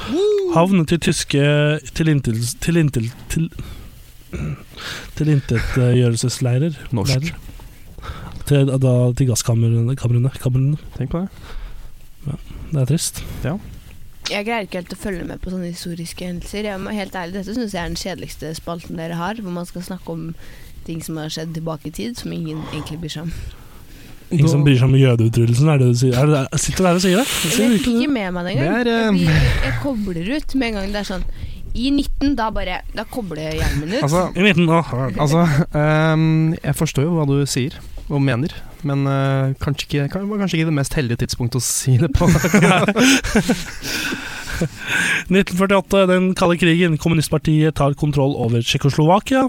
B: havn til tyske tilintil- tilintil- til- tilintetgjørelsesleirer.
C: Norsk.
B: Leirer. Til, da, til gasskamrene. Kamrene, kamrene.
C: Tenk på det.
B: Det er trist.
F: Jeg greier ikke helt å følge med på sånne historiske hendelser. Jeg må helt ærlig, Dette syns jeg er den kjedeligste spalten dere har, hvor man skal snakke om ting som har skjedd tilbake i tid, som ingen egentlig bryr seg om.
B: Ingen som bryr seg om jødeutryddelsen, er det du sier? Er det, er, sitter du her og sier det? Jeg sier
F: Men Jeg
B: virkelig
F: fikk
B: det.
F: ikke med meg det
C: Det
F: engang.
C: er, eh,
F: Jeg, blir- jeg kobler ut med en gang det er sånn I 19, da bare Da kobler hjelmen ut.
C: Altså,
B: I 19... Å,
C: altså ehm, jeg forstår jo hva du sier og mener, Men eh, kanskje, ikke, kan- var kanskje ikke det mest heldige tidspunktet å si det
B: <laughs>
C: på.
B: 1948, den kalde krigen. Kommunistpartiet tar kontroll over Tsjekkoslovakia.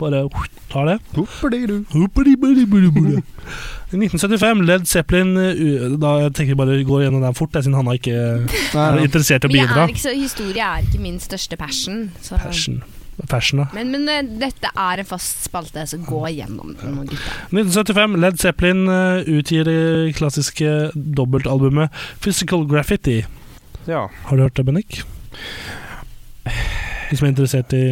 B: Bare uh, tar det.
C: Hoppadidu.
B: Hoppadi-badi-badi-badi. I 1975, Led Zeppelin uh, Da jeg tenker jeg bare går gjennom den fort, jeg, siden Hanna ikke er
C: Nei,
B: interessert i å
F: Men jeg
B: bidra.
F: er ikke så, historie er ikke min største passion. Så.
B: Passion. Passion, da.
F: Men, men eh, dette er en fast spalte, så gå gjennom den. nå, gutta.
B: 1975, Led Zeppelin uh, utgir det klassiske dobbeltalbumet Physical Graffiti.
C: ja.
B: Har du hørt det, Bennik? De som er interessert i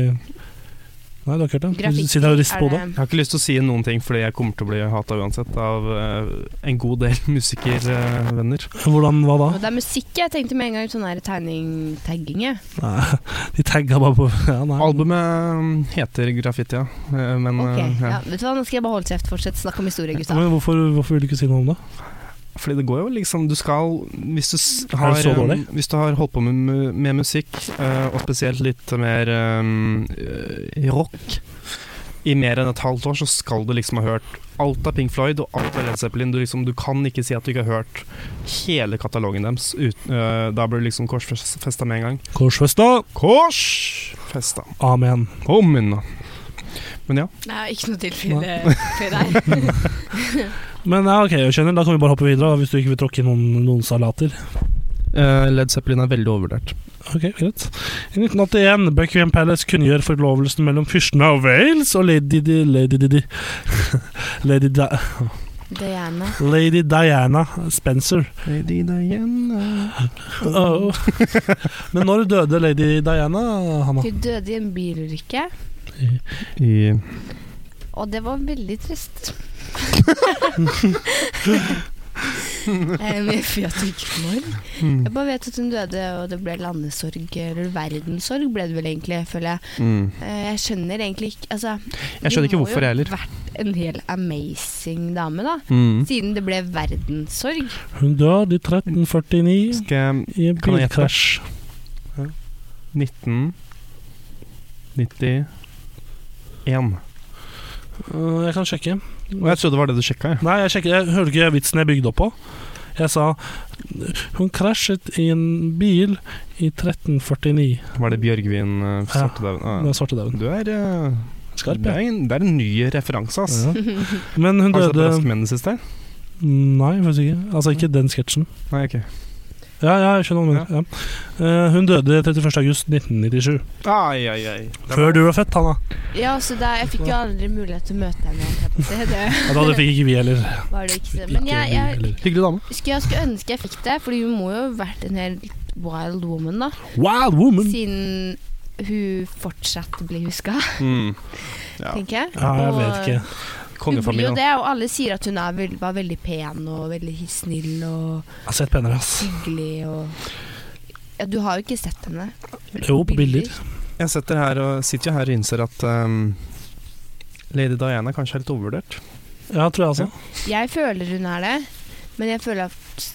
B: Nei, du har ikke hørt det? Du
F: Grafikk
B: sitter her og rister på hodet.
C: Jeg har ikke lyst til å si noen ting, fordi jeg kommer til å bli hata uansett av eh, en god del <laughs> musikervenner.
B: Hvordan, hva da?
F: Og det er musikk jeg tenkte med en gang. Sånn her tegning, tagging. jeg.
B: Nei, de tagga bare på ja, nei.
C: Albumet mm, heter Graffiti, ja. Eh, Men
F: Ok,
C: eh, ja.
F: ja, vet du hva, Nå skal jeg bare holde kjeft. Fortsett. Snakk om historie, gutta.
B: Men hvorfor, hvorfor vil du ikke si noe om det?
C: Fordi det går jo liksom Du skal Hvis du s- har,
B: så
C: eh,
B: dårlig?
C: Hvis du har holdt på med, mu- med musikk, eh, og spesielt litt mer eh, rock, i mer enn et halvt år, så skal du liksom ha hørt alt av Pink Floyd og alt av Led Zeppelin. Du, liksom, du kan ikke si at du ikke har hørt hele katalogen deres. Ut, eh, da blir du liksom korsfesta med en gang.
B: Korsfesta!
C: Korsfesta.
B: Amen.
C: Kom inn, da. Men ja.
D: Nei, ikke noe tilfelle for deg.
C: <laughs>
B: Men ja, ok, jeg skjønner. Da kan vi bare hoppe videre, da, hvis du ikke vil tråkke i noen, noen salater.
C: Eh, Led Zeppelin er veldig overvurdert.
B: Ok, greit. I 1981 Buckingham Palace kunngjør forlovelsen mellom fyrsten av Wales og lady Di, Lady Di, <laughs> Di, Lady, Di,
F: Diana.
B: Lady Diana Spencer.
C: Lady <laughs> Diana
B: Oh. Men når døde lady Diana, Hanna?
F: Hun døde i en bilulykke,
C: I
F: og det var veldig trist.
C: <laughs>
F: Em, Eh, jeg vet ikke når.
C: Mm.
F: Jeg bare vet at hun døde, og det ble landesorg, eller verdenssorg ble det vel egentlig, føler jeg.
C: mm.
F: Eh, Jeg skjønner egentlig ikke altså,
C: Jeg skjønner ikke
F: hun må
C: hvorfor
F: jo
C: heller.
F: vært en helt amazing dame, da.
C: Mm.
F: Siden det ble verdenssorg.
B: Hun døde i 1349
C: Skal jeg
B: i en
C: Kan jeg gjette?
B: bilkrasj.
C: 1991.
B: Eh, Jeg kan sjekke.
C: Og jeg trodde det var det du sjekka, jeg.
B: Nei, jeg, sjekker, jeg hører ikke vitsen jeg bygde opp på. Jeg sa hun krasjet i en bil i 1349.
C: Var det Bjørgvin uh, Svartedauden? Ah,
B: Den svarte dauden.
C: Du er eh,
B: Skarp,
C: det,
B: ja.
C: er en, det er en ny referanse, ass.
F: <laughs>
B: ja. Men hun
C: Har du sett
B: døde
C: Raske menn i det siste?
B: Nei, for ikke. Altså ikke den sketsjen.
C: Nei, ok.
B: Ja, ja, jeg skjønner hva du mener. Ja. Eh, hun døde 31. august 1997.
C: Ai, ai, ai.
B: Før du var født, Hanna.
F: Ja, så da, jeg fikk jo aldri mulighet til å møte henne. holdt jeg på å si. Det
B: Ja, da det fikk ikke vi heller.
F: var det ikke. så-
B: Ikke
F: Men jeg,
B: vi
F: jeg,
B: heller.
C: Hyggelig dame.
F: skulle, jeg skulle ønske jeg fikk det, Fordi hun må jo ha vært en helt wild woman, da.
B: Wild woman!
F: Siden hun fortsatt blir huska,
C: Mm. Ja.
F: tenker jeg.
B: Ja, jeg vet ikke.
F: Hun blir jo
C: Kongefamilien.
F: det, og alle sier at hun er vel- var veldig pen og veldig snill og
B: Jeg har sett penere, ass.
F: hyggelig og Ja, du har jo ikke sett henne.
B: Jo, på bilder.
C: Jeg sitter her og, sitter jo her og innser at ehm, Lady Diana kanskje er litt overvurdert.
B: Ja, tror jeg altså.
F: Jeg føler hun er det, men jeg føler at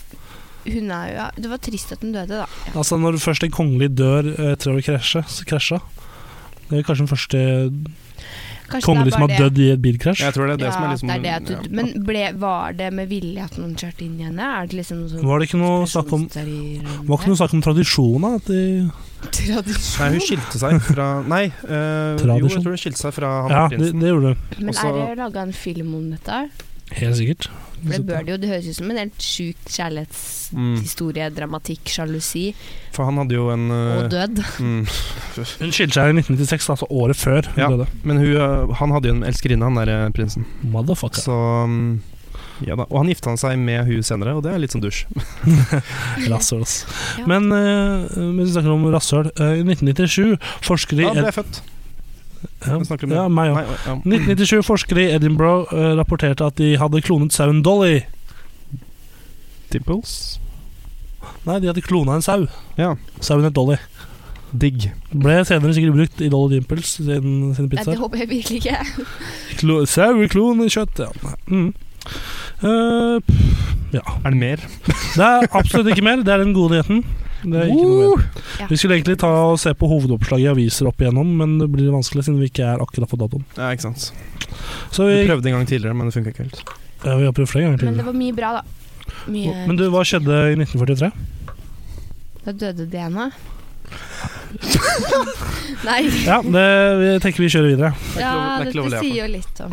F: hun er jo Det var trist at hun døde, da. Ja.
B: Altså, når først en kongelig dør eh, etter å krasje, så krasja. Det er kanskje den første
F: Kanskje det
B: kongelige
F: er
B: som
F: bare
B: liksom har dødd i et bilkrasj.
C: Jeg tror det er
F: det.
C: det
F: Ja,
C: som er liksom
F: det er det at du,
C: ja.
F: Men ble, var det med vilje at noen kjørte inn i henne? Er det liksom noe sånn
B: Var det ikke noe snakk om var ikke noe snakk om tradisjon, da? At de,
F: <laughs>
C: Nei, hun skilte seg fra Nei, eh, jo, jeg
B: Tradisjon.
C: tror hun skilte seg fra han
B: ja, det,
C: prinsen.
B: det gjorde de.
F: Men
C: Også-
F: er det laga en film om dette?
B: Helt sikkert.
F: For det bør det jo. Det høres ut som en helt sjuk kjærlighetshistorie, dramatikk, sjalusi
C: Mm, For han hadde jo en
F: og
C: eh,
F: død.
C: mm,
B: Hun skilte seg i 1996, altså året før hun
C: Ja.
B: døde.
C: Men hun, eh, han hadde jo en elskerinne, han der eh, prinsen.
B: Motherfucker.
C: Så mm, ja da. Og han gifta han seg med hun senere, og det er litt sånn dusj.
B: Rasshøl, ass.
F: Ja.
B: Men eh, mens vi snakker om rasshøl, eh, i 1997 forskere i
C: Da ble
B: Ed-
C: jeg født.
B: Ja,
C: Jeg snakker om det.
B: ja, meg òg.
C: Nei, ja.
B: 1997 forskere i Edinburgh eh, rapporterte at de hadde klonet sauen Dolly.
C: Dimples.
B: Nei, de hadde klona en sau.
C: Ja.
B: Sauen het Dolly.
C: Digg.
B: Ble senere sikkert brukt i Dolly Dimples sin, sine
F: Nei, det
B: pizzaer.
F: håper jeg virkelig ikke.
B: Klo, sau, klon, kjøtt ja. Nei, Mm. Eh,
C: Er det mer?
B: det er absolutt ikke mer. Det er den gode nyheten. Det er ikke noe mer.
F: Ja.
B: Vi skulle egentlig ta og se på hovedoppslaget i aviser opp igjennom, men det blir vanskelig siden vi ikke er akkurat på datoen.
C: Ja, ikke sant.
B: Så
C: Vi
B: vi
C: prøvde en gang tidligere, men det funka ikke helt.
B: Ja, vi har prøvd flere ganger
F: Men
B: tidligere.
F: det var mye bra, da. Mye,
B: Men du, hva skjedde i 1943?
F: Da døde Dena. Nei,
B: Ja, det, jeg tenker vi kjører videre.
C: Det er ikke
F: ja,
C: lov- det er
F: det,
C: ikke lov å le av.
F: sier jo litt om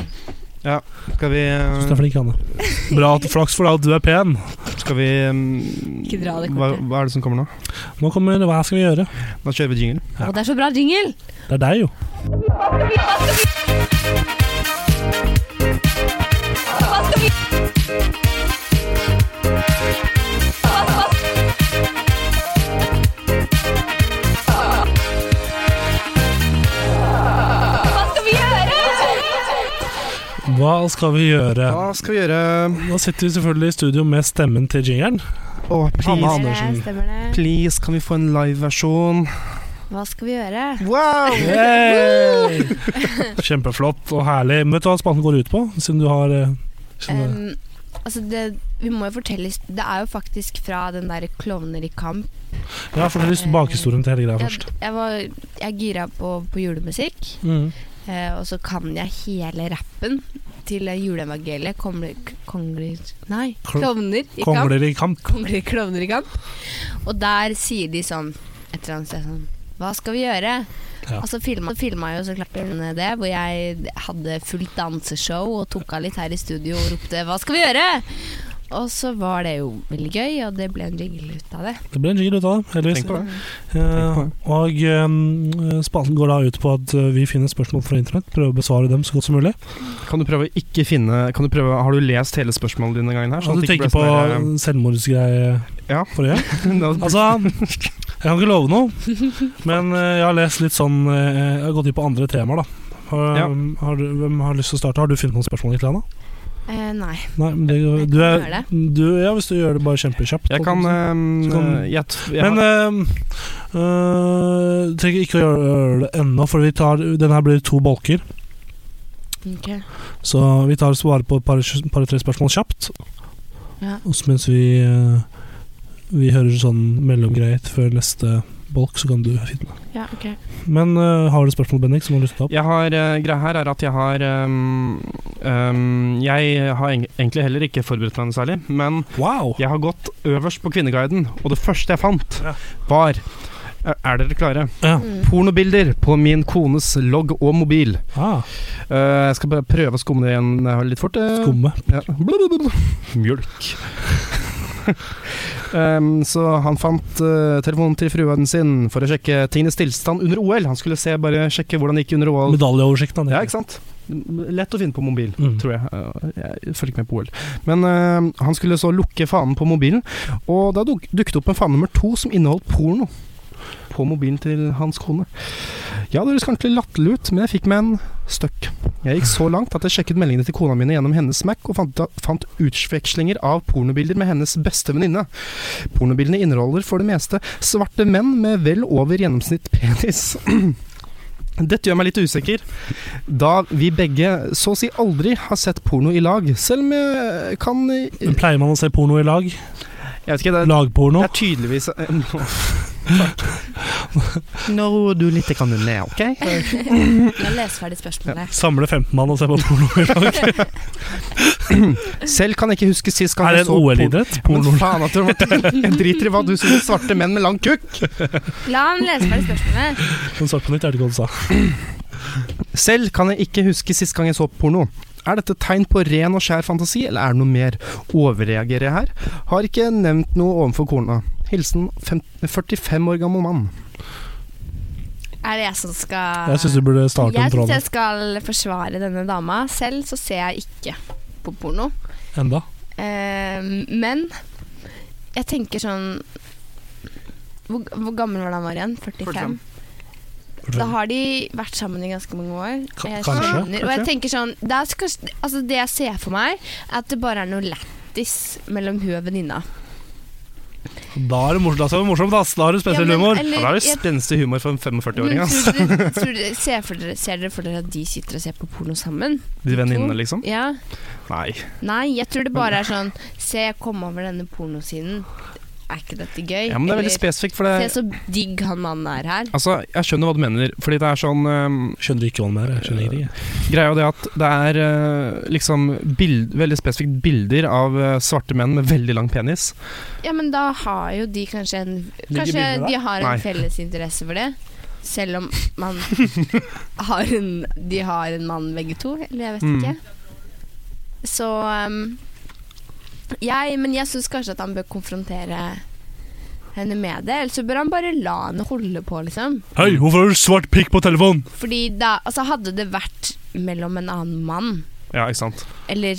C: Skal vi, eh,
B: Jeg synes det er flink, Hanne. Bra at flaks for deg at du er pen.
C: skal vi um,
D: Ikke dra det
C: hva,
D: kortet.
C: hva er det som kommer nå?
B: Nå kommer Hva skal vi gjøre?
C: Da kjører vi jingle.
B: Ja.
F: Og det er så bra jingle!
B: Det er deg, jo. Hva skal vi gjøre?
C: Da skal vi gjøre
B: Nå sitter vi selvfølgelig i studio med stemmen til jingeren.
C: Å,
B: Hanna
C: please,
B: Andersen.
F: Stemmer det, stemmer det.
C: please, kan vi få en liveversjon?
F: Hva skal vi gjøre?
C: Wow!
B: Yay! Kjempeflott og herlig. Men vet du hva spalten går ut på? Siden du har eh, sånne
F: Um, altså det, vi må jo fortelle his- Det er jo faktisk fra den der Klovner i kamp.
B: Ja, fortell litt bakhistorien til
C: um,
B: hele greia
F: Jeg,
B: først.
F: jeg var jeg gira på, på julemusikk,
B: Mm.
F: eh, og så kan jeg hele rappen til eh, juleevangeliet. Kongler, kongler Nei.
D: Klovner i kamp.
B: Kongler i kamp.
D: Kongelige klovner i kamp.
F: Og der sier de sånn et eller annet sted sånn Hva skal vi gjøre?
B: Ja.
F: Og så filma, filma jo så klart den det, hvor jeg hadde fullt danseshow og tok av litt her i studio og ropte 'hva skal vi gjøre?' Og så var det jo veldig gøy, og det ble en jingle ut av det.
B: Det ble en jingle ut av det, heldigvis.
C: Tenk på det.
B: Eh, og eh, spalten går da ut på at eh, vi finner spørsmål fra internett, prøver å besvare dem så godt som mulig.
C: Kan du prøve å ikke finne kan du prøve, Har du lest hele spørsmålet denne gangen her?
B: Og
C: at
B: Altså, du
C: det ikke
B: tenker
C: ble
B: på <laughs>
C: sånn
B: selvmordsgreie
C: Ja.
B: forrige?
C: der,
B: Altså, jeg kan ikke love noe, men eh, jeg har lest litt sånn eh, Jeg har gått inn på andre temaer, da. Har, um,
C: Ja.
B: har du, hvem har lyst til å starte? Har du funnet noen spørsmål? Ikke, Anna?
F: Eh, nei.
B: Nei, men det,
F: Jeg
B: du
F: kan
B: er,
F: gjøre
B: du, ja, hvis du gjør det bare kjempekjapt.
C: Jeg kan
B: Så kan-
C: eh, jeg, t- jeg,
B: Men eh, eh, trenger ikke å gjøre det ennå, for vi tar, den her blir to bolker.
F: Ok.
B: Så vi tar og svarer på et par- par-tre spørsmål kjapt.
F: Ja.
B: Og så mens vi, eh, vi hører sånn mellomgreier før neste bolk, så kan du finne det.
F: Ja, ok.
B: Men eh, har du spørsmål, Bendik, så må du ta opp.
C: jeg har eh, Greia her er at jeg har ehm, ehm, Jeg har eng- egentlig heller ikke forberedt meg noe særlig, men
B: Wow!
C: jeg har gått øverst på Kvinneguiden, og det første jeg fant,
B: Ja.
C: var eh, Er dere klare?
B: Ja.
F: Mm.
C: Pornobilder på min kones logg og mobil.
B: Ah,
C: Eh, jeg skal bare prøve å skumme det igjen eh, litt fort. eh.
B: skumme.
C: Ja. Blablabla. <laughs> Mjølk. Ehm, så han fant eh, telefonen til fruen sin for å sjekke tingenes tilstand under OL. Han skulle se, bare sjekke hvordan det gikk under OL.
B: Medaljeoversikten. han
C: Ja,
B: heter.
C: ikke sant? Lett å finne på mobil,
B: Mm.
C: tror jeg. Eh, Jeg følger ikke med på OL. Men eh, han skulle så lukke fanen på mobilen, og da duk dukket opp en fane nummer to som inneholdt porno. På mobilen til hans kone. Ja, det høres kanskje litt latterlig ut, men jeg fikk meg en støkk. Jeg gikk så langt at jeg sjekket meldingene til kona mine gjennom hennes Mac, og fant, fant utvekslinger av pornobilder med hennes beste venninne. Pornobildene inneholder for det meste svarte menn med vel over gjennomsnitt penis. <clears throat> Dette gjør meg litt usikker, da vi begge så å si aldri har sett porno i lag. Selv om jeg kan Jeg
B: Men Pleier man å se porno i lag?
C: vet ikke, det er, det
B: Lagporno?
C: er tydeligvis eh, <laughs> Nå roer du litt kan du ned, OK?
F: La lese ferdig spørsmålet.
B: Samle 15 mann og se på porno i lag?
C: Selv kan jeg ikke huske sist gang
B: Er det
C: jeg
B: en
C: så porno.
B: OL-idrett? Porno?
C: Men faen at du <laughs> Jeg driter i hva du synes svarte menn med lang kukk.
F: La ham lese ferdig spørsmålet.
B: Men svart på nytt er det ikke hva du sa.
C: Selv kan jeg ikke huske sist gang jeg så porno. Er dette tegn på ren og skjær fantasi, eller er det noe mer? Overreagerer jeg her? Har ikke nevnt noe overfor kona. Hilsen fem- 45 år gammel mann.
F: Er det jeg som skal
B: Jeg syns du burde starte
F: Jeg
B: en
F: synes
B: tråd
F: jeg skal forsvare denne dama. Selv så ser jeg ikke på porno.
B: enda.
F: Eh, men jeg tenker sånn hvor, hvor gammel var det han var igjen? 45? Da har de vært sammen i ganske mange år.
B: Ka-
F: Jeg
B: kanskje,
F: skjønner. Og jeg
C: kanskje.
F: tenker sånn det, er så kanskje, altså det jeg ser for meg, er at det bare er noe lættis mellom hun og venninna.
B: Da er det morsomt, da skal det være morsomt, ass. Da har du spesiell
F: Ja, men-
B: humor.
F: eller- jeg-
C: spenstig humor for en 45-åring,
F: men
C: ass.
F: tror dere- tror dere- Ser for dere- ser dere for dere at de sitter og ser på porno sammen?
C: De venninnene, liksom.
F: Ja.
C: Nei.
F: Nei, jeg tror det bare er sånn Se, jeg kom over denne pornosiden. Er ikke dette gøy?
C: Ja, men det er veldig
F: Eller,
C: spesifikt, for
F: Se
C: det
F: så digg han mannen er her.
C: Altså, jeg skjønner hva du mener, fordi det er sånn ehm,
B: Skjønner ikke hva den er. Jeg skjønner ikke. jeg.
C: Greia er det at det er eh, liksom bild, veldig spesifikt bilder av eh, svarte menn med veldig lang penis.
F: Ja, men da har jo de kanskje en
B: Ligger
F: Kanskje
B: bildet der?
F: de har en
C: Nei.
F: felles interesse for det? Selv om
C: <laughs>
F: man har en De har en mann begge to, eller jeg vet
C: Mm.
F: ikke. Så um, jeg, Men jeg syns kanskje at han bør konfrontere henne med det. Eller så bør han bare la henne holde på, liksom.
B: Hei, hvorfor har du svart pikk på telefonen?
F: Fordi da Altså, hadde det vært mellom en annen mann,
C: Ja, ikke sant?
F: eller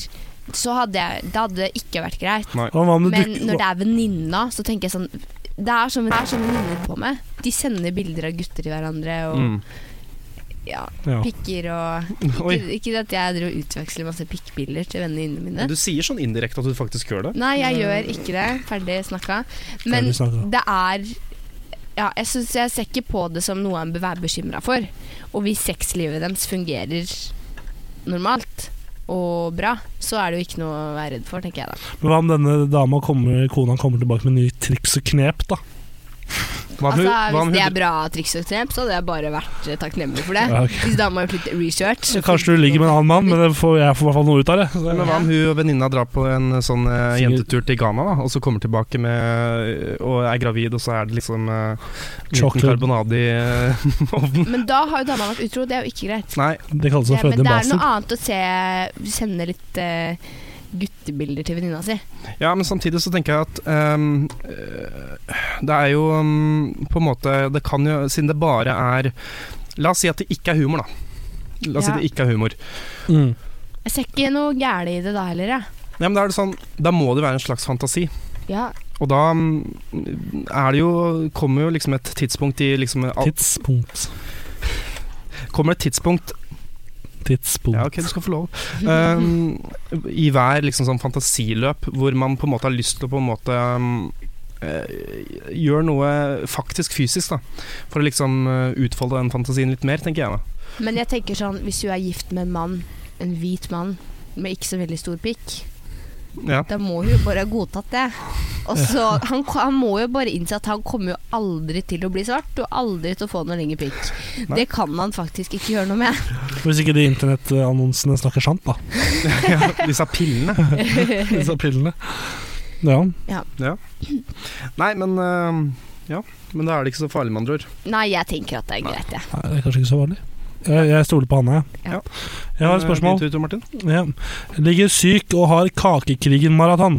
F: så hadde jeg Det hadde ikke vært greit.
B: Og hva om det
F: Men
B: dukker
F: når det er venninna, så tenker jeg sånn Det er sånn, det er sånn venninner på med. De sender bilder av gutter til hverandre og
C: Mm.
F: ja,
B: Ja.
F: pikker og
C: Oi.
F: ikke, ikke at jeg dro og utveksler masse pikkbilder til venninnene mine.
C: Du sier sånn indirekte at du faktisk gjør det.
F: Nei, jeg gjør ikke det. Ferdig snakka. Men
B: Ferdig snakka.
F: det er ja, jeg, synes, jeg ser ikke på det som noe han bør være bekymra for. Og hvis sexlivet deres fungerer normalt og bra, så er det jo ikke noe å være redd for, tenker jeg da.
B: Men hva om denne dama kommer, kona kommer tilbake med nye triks og knep, da?
C: Hva om hun-
F: Altså,
C: hva om
F: hvis det
C: hun-
F: er bra triks og knep, så hadde jeg bare vært eh, takknemlig for det.
B: Ja, ok.
F: Hvis dama har gjort litt research så
B: Kanskje du ligger med en annen mann, men det får, jeg får i hvert fall noe ut av det. Så-
C: Men
F: Mm.
C: hva om hun og venninna drar på en eh, sånn eh,
B: Singer-
C: jentetur til Ghana, da, og så kommer tilbake med eh, og er gravid, og så er det liksom eh, liten
B: Chocolate.
C: karbonade i eh, <laughs> ovnen?
F: Men da har jo dama vært utro, det er jo ikke greit.
C: Nei.
B: Det kalles å
F: Ja,
B: føde
F: men
B: en
F: det er noe
B: bastard.
F: annet å se sende litt eh, guttebilder til venninna si.
C: Ja, men samtidig så tenker jeg at ehm, eh, det er jo ehm, på en måte Det kan jo, siden det bare er La oss si at det ikke er humor, da. La oss
F: Ja.
C: si det ikke er humor.
B: Mm.
F: Jeg ser ikke noe gærent i det da heller, jeg.
C: Nei, men da er det sånn Da må det være en slags fantasi.
F: Ja.
C: Og da mm, er det jo Kommer jo liksom et tidspunkt i liksom al-
B: Tidspunkt.
C: Kommer et tidspunkt
B: Tidspunkt.
C: Ja, ok, du skal få lov. Ehm, I hver liksom sånn fantasiløp hvor man på en måte har lyst til å på en måte ehm, eh, gjøre noe faktisk fysisk, da. For å liksom eh, utfolde den fantasien litt mer, tenker jeg da.
F: Men jeg tenker sånn, hvis du er gift med en mann, en hvit mann med ikke så veldig stor pikk,
C: Ja.
F: da må hun jo bare ha godtatt det. Og så, han, han må jo bare innse at han kommer jo aldri til å bli svart, og aldri til å få noe lengre pikk.
C: Nei.
F: Det kan man faktisk ikke gjøre noe med.
B: Hvis ikke de internettannonsene snakker sant,
F: <laughs>
B: da.
C: ja, disse pillene.
B: <laughs> Disse pillene. Ja.
C: Nei, men ehm, Ja, men da er det ikke så farlig, med andre ord.
F: Nei, jeg tenker at det er greit, jeg.
B: Nei, det er kanskje ikke så vanlig. Jeg, jeg stoler på Hanne, jeg.
F: Ja.
B: Jeg har et
C: Men, eh,
B: spørsmål.
C: din tur, Tor Martin.
B: Ja. Ligger syk og har Kakekrigen-maraton.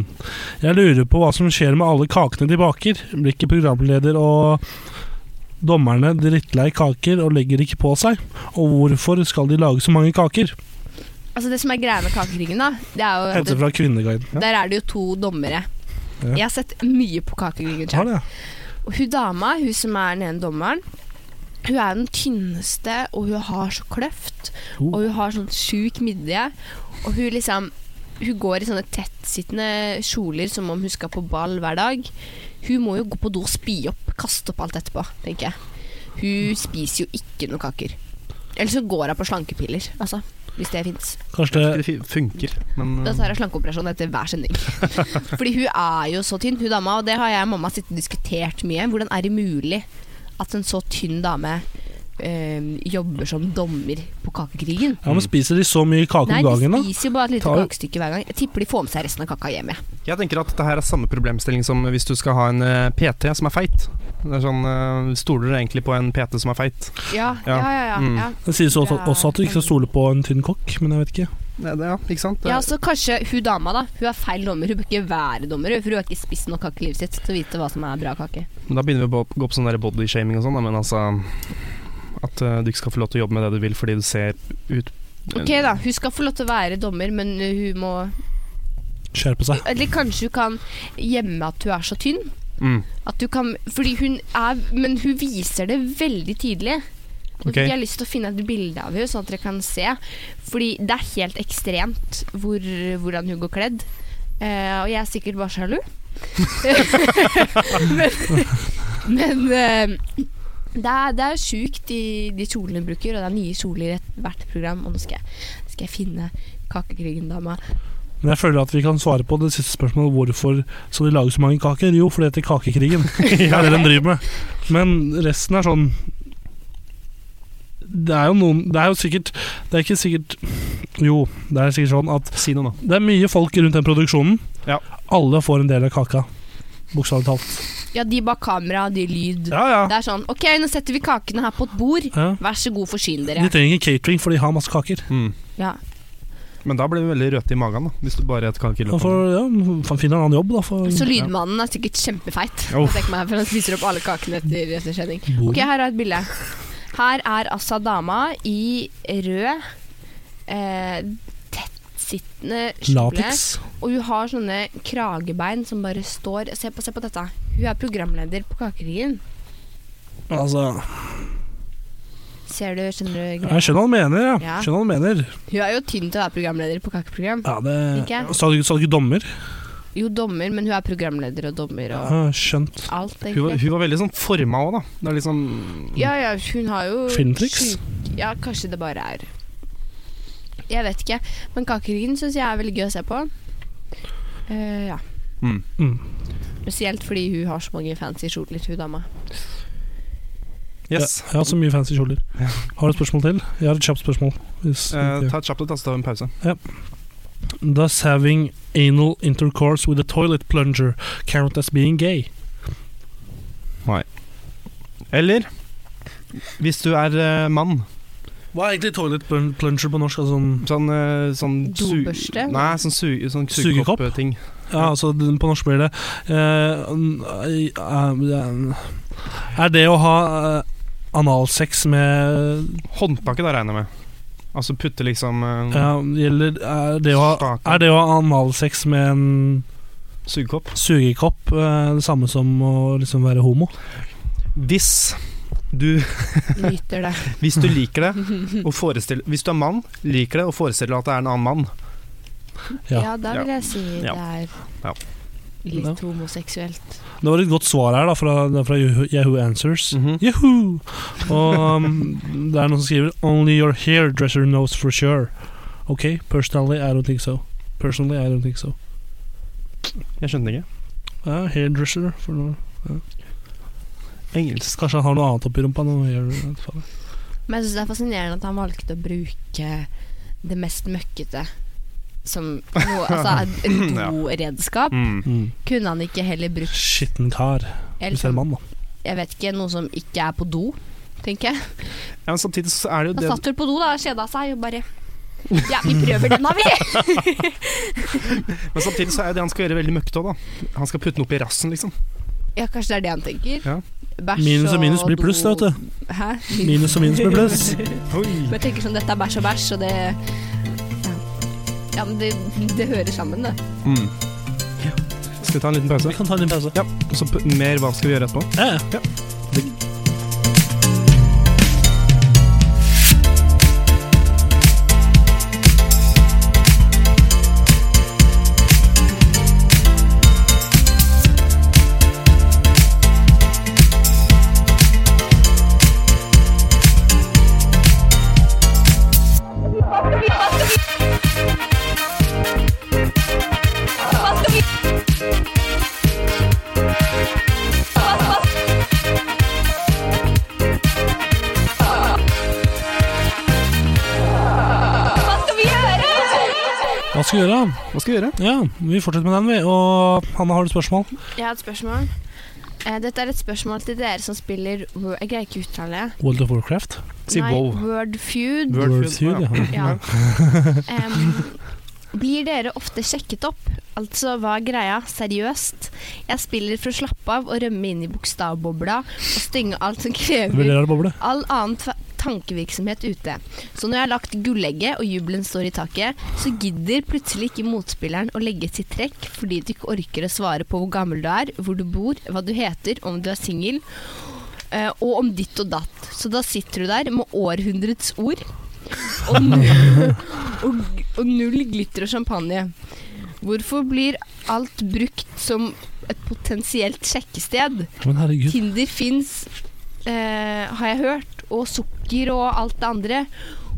B: Jeg lurer på hva som skjer med alle kakene de baker. Blir ikke programleder og dommerne drittlei kaker og legger ikke på seg? Og hvorfor skal de lage så mange kaker?
F: Altså Det som er greia med Kakekrigen, da, det er jo at
B: Hente fra Kvinneguiden.
F: det, der er det jo to dommere.
B: Ja.
F: Jeg har sett mye på Kakekrigen.
B: Har
F: selv.
B: det, ja.
F: Og hun dama, hun som er den ene dommeren, hun er den tynneste, og hun har så kløft.
B: Oh.
F: Og hun har sånn sjuk midje. Og hun liksom Hun går i sånne tettsittende kjoler som om hun skal på ball hver dag. Hun må jo gå på do og spy opp, kaste opp alt etterpå, tenker jeg. Hun spiser jo ikke noe kaker. Eller så går hun på slankepiller, altså. Hvis det fins.
B: Kanskje det
C: Det fi- funker,
B: Mm.
C: men eh,
F: Da tar jeg slankeoperasjon etter hver
B: <laughs>
F: sending. Fordi hun er jo så tynn, hun dama, og det har jeg og mamma sittet og diskutert mye. Hvordan er det mulig at en så tynn dame eh, jobber som dommer på kakekrigen?
B: Ja, men Spiser de så mye kake
F: Nei,
B: om dagen,
F: de
B: da?
F: spiser jo bare et lite
B: Tar-
F: kakestykke hver gang. Jeg tipper de får med seg resten av kaka hjem. jeg.
C: Jeg tenker at det her er samme problemstilling som hvis du skal ha en eh, PT som er feit. Det er sånn, eh, Stoler dere egentlig på en PT som er feit?
F: Ja,
C: Ja.
F: ja, ja. ja,
C: Mm.
F: ja.
B: Det sies også, også at du ikke skal stole på en tynn kokk, men jeg vet ikke.
C: Nei, det, ja, ikke sant? Eh, Det-
F: Ja, så kanskje hun dama da Hun er feil dommer. Hun bør ikke være dommer, hun, for hun har ikke spist nok kake i livet sitt til å vite hva som er bra kake.
C: Men Da begynner vi å gå på sånn der body shaming og sånn, da, men altså At eh, du ikke skal få lov til å jobbe med det du vil fordi du ser ut
F: Ok da, Hun skal få lov til å være dommer, men hun må
B: Skjerpe seg.
F: Eller kanskje hun kan gjemme at hun er så tynn.
C: <laughs> Mm.
F: At du kan, fordi hun er, men hun viser det veldig tidlig. Og
C: Ok.
F: Jeg har lyst til å finne et bilde av henne, sånn at dere kan se. Fordi det er helt ekstremt hvor, hvordan hun går kledd. Eh, og jeg er sikkert bare sjalu. <laughs> men men eh, det er, det er sjukt, de, de kjolene hun bruker. Og det er nye kjoler i et- hvert program. Og nå skal jeg, skal jeg finne Kakekrigen-dama
B: Men jeg føler at vi kan svare på det siste spørsmålet hvorfor skal de lage så mange kaker? Jo, fordi det heter <laughs> kakekrigen. Det er det de driver med. Men resten er sånn Det er jo noen Det er jo sikkert Det er ikke sikkert Jo, det er sikkert sånn at
C: Si noe, da.
B: det er mye folk rundt den produksjonen.
C: Ja.
B: Alle får en del av kaka. Bokstavelig talt.
F: Ja, de bak kamera, de lyd.
B: Ja, ja.
F: Det er sånn OK, nå setter vi kakene her på et bord.
B: ja.
F: Vær så god, forsyn
B: De
F: dere.
B: trenger ikke catering, for de har masse kaker.
C: Mm.
F: Ja.
C: Men da blir du veldig rødt i magen, da, hvis du bare et kake i
B: Han
C: løpet.
B: får, ja, han finner en annen jobb, da. For
F: Så lydmannen er sikkert kjempefeit.
B: Oh.
C: Jo.
F: Jeg tenker meg, for Han spiser opp alle kakene etter, etter skjedning.
B: Bor-
F: Ok, her er et bilde. Her er altså dama i rød, eh, tettsittende kjole.
B: Latex.
F: Og hun har sånne kragebein som bare står Se på, se på dette. Hun er programleder på Kakekrigen.
B: Altså,
F: Ser du, skjønner du
B: jeg skjønner hva han mener. Ja.
F: Ja.
B: Skjønner hva han mener.
F: Hun er jo tynn til å være programleder på kakeprogram.
B: Ja, det
F: Ikke?
B: Sa du sa du ikke dommer?
F: Jo, dommer, men hun er programleder og dommer og
B: Ja, skjønt.
F: alt,
C: Hun var,
F: egentlig.
C: hun var veldig sånn forma òg, da. Det er liksom
F: Ja, ja, hun har jo
B: Filmtriks?
F: sjuk- Ja, kanskje det bare er Jeg vet ikke. Men Kakekrigen syns jeg er veldig gøy å se på. Eh, ja.
C: Mm.
B: Mm.
F: Spesielt fordi hun har så mange fancy skjorter, hun dama.
C: Yes.
B: Jeg, jeg har så mye fancy kjoler. Har du et spørsmål til? Jeg har et kjapt spørsmål. Hvis,
C: Eh, ta et kjapt et, da, så tar vi en pause.
B: Does having anal intercourse with a toilet plunger count as being gay?
C: Eller hvis du er eh, mann
B: Hva er egentlig toilet plun- plunger på norsk? Altså sånn
C: Sånn, eh, sånn su-
F: Dobørste?
C: Nei, sånn, su sånn
B: Sugekopp?
C: sugekopp-ting.
B: Ja, altså den- på norsk blir det eh, n- eh, eh, Er det å ha eh, analsex med
C: Håndtaket, da, regner jeg med. Altså putte liksom eh,
B: ja, Gjelder er det, å ha,
C: Staken.
B: er det å ha analsex med en
C: sugekopp.
B: sugekopp eh, det samme som å liksom være homo?
C: Hvis du,
F: Nyter det.
C: hvis du liker
F: <laughs>
C: det og forestiller Hvis du er mann, liker det og forestiller deg at det er en annen mann.
B: Ja.
F: Ja, da vil jeg si
C: Ja.
F: det
C: Ja.
F: er litt homoseksuelt.
B: Det var et godt svar her da fra, fra Yahoo Answers.
C: Mhm.
B: Yahoo! Og um, det er noen som skriver Only your hairdresser knows for sure. Ok, personally I don't think so. Personally I don't think so.
C: Jeg skjønte ikke.
B: Ja, hairdresser for noe.
C: Engelsk.
B: Kanskje han har noe annet oppi rumpa? Noe hair, jeg vet faen.
F: Men jeg syns det er fascinerende at han valgte å bruke det mest møkkete som noe, altså, et
C: <laughs> Ja.
F: doredskap.
C: Mm.
B: mm.
F: Kunne han ikke heller brukt
B: Skitten kar.
F: eller
B: Hvis det er en
F: sånn,
B: mann, da.
F: jeg vet ikke, noe som ikke er på do, tenker jeg.
C: Ja, men samtidig så er det
F: Han
C: jo det
F: satt vel på do, da, kjeda seg og bare Ja, vi prøver den, da, vi! <laughs>
C: Men samtidig så er det han skal gjøre veldig møkkete òg, da. Han skal putte den opp i rassen, liksom.
F: Ja, kanskje det er det han tenker.
C: Ja.
F: Bæsj
B: Minus og minus blir
F: do-
B: pluss, da, vet du.
F: Hæ?
B: Minus og minus blir pluss.
F: Men jeg tenker sånn, dette er bæsj og bæsj, og det Ja, ja men det, det hører sammen, det.
C: Mm. Skal vi ta en liten pause?
B: Vi kan ta en liten pause.
C: Ja. Og så p- mer hva skal vi gjøre etterpå?
B: Ja, ja. Hva skal vi gjøre? da?
C: Hva skal vi gjøre?
B: Ja, Vi fortsetter med den, vi. Og Hanna, har du spørsmål?
F: Jeg har et spørsmål. Eh, dette er et spørsmål til dere som spiller Wo- Jeg greier ikke å uttale det.
B: World of Warcraft?
C: Si
F: Nei,
C: wow.
F: Word Feud.
C: Word
B: World
C: Feud,
B: Feud, ja.
F: Ja. <laughs> Em, blir dere ofte sjekket opp? Altså, hva er greia? Seriøst? Jeg spiller for å slappe av og rømme inn i bokstavbobla og stynge alt som
B: Veldig
F: krever
B: rar boble.
F: all annen tva- tankevirksomhet ute. Så når jeg har lagt gullegget og jubelen står i taket, så gidder plutselig ikke motspilleren å legge sitt trekk fordi du ikke orker å svare på hvor gammel du er, hvor du bor, hva du heter, om du er singel, eh, og om ditt og datt. Så da sitter du der med århundrets ord og, nu- <laughs> og, og null glitter og champagne. Hvorfor blir alt brukt som et potensielt sjekkested?
B: Men herregud.
F: Tinder fins, eh, har jeg hørt, og sukker og alt det andre.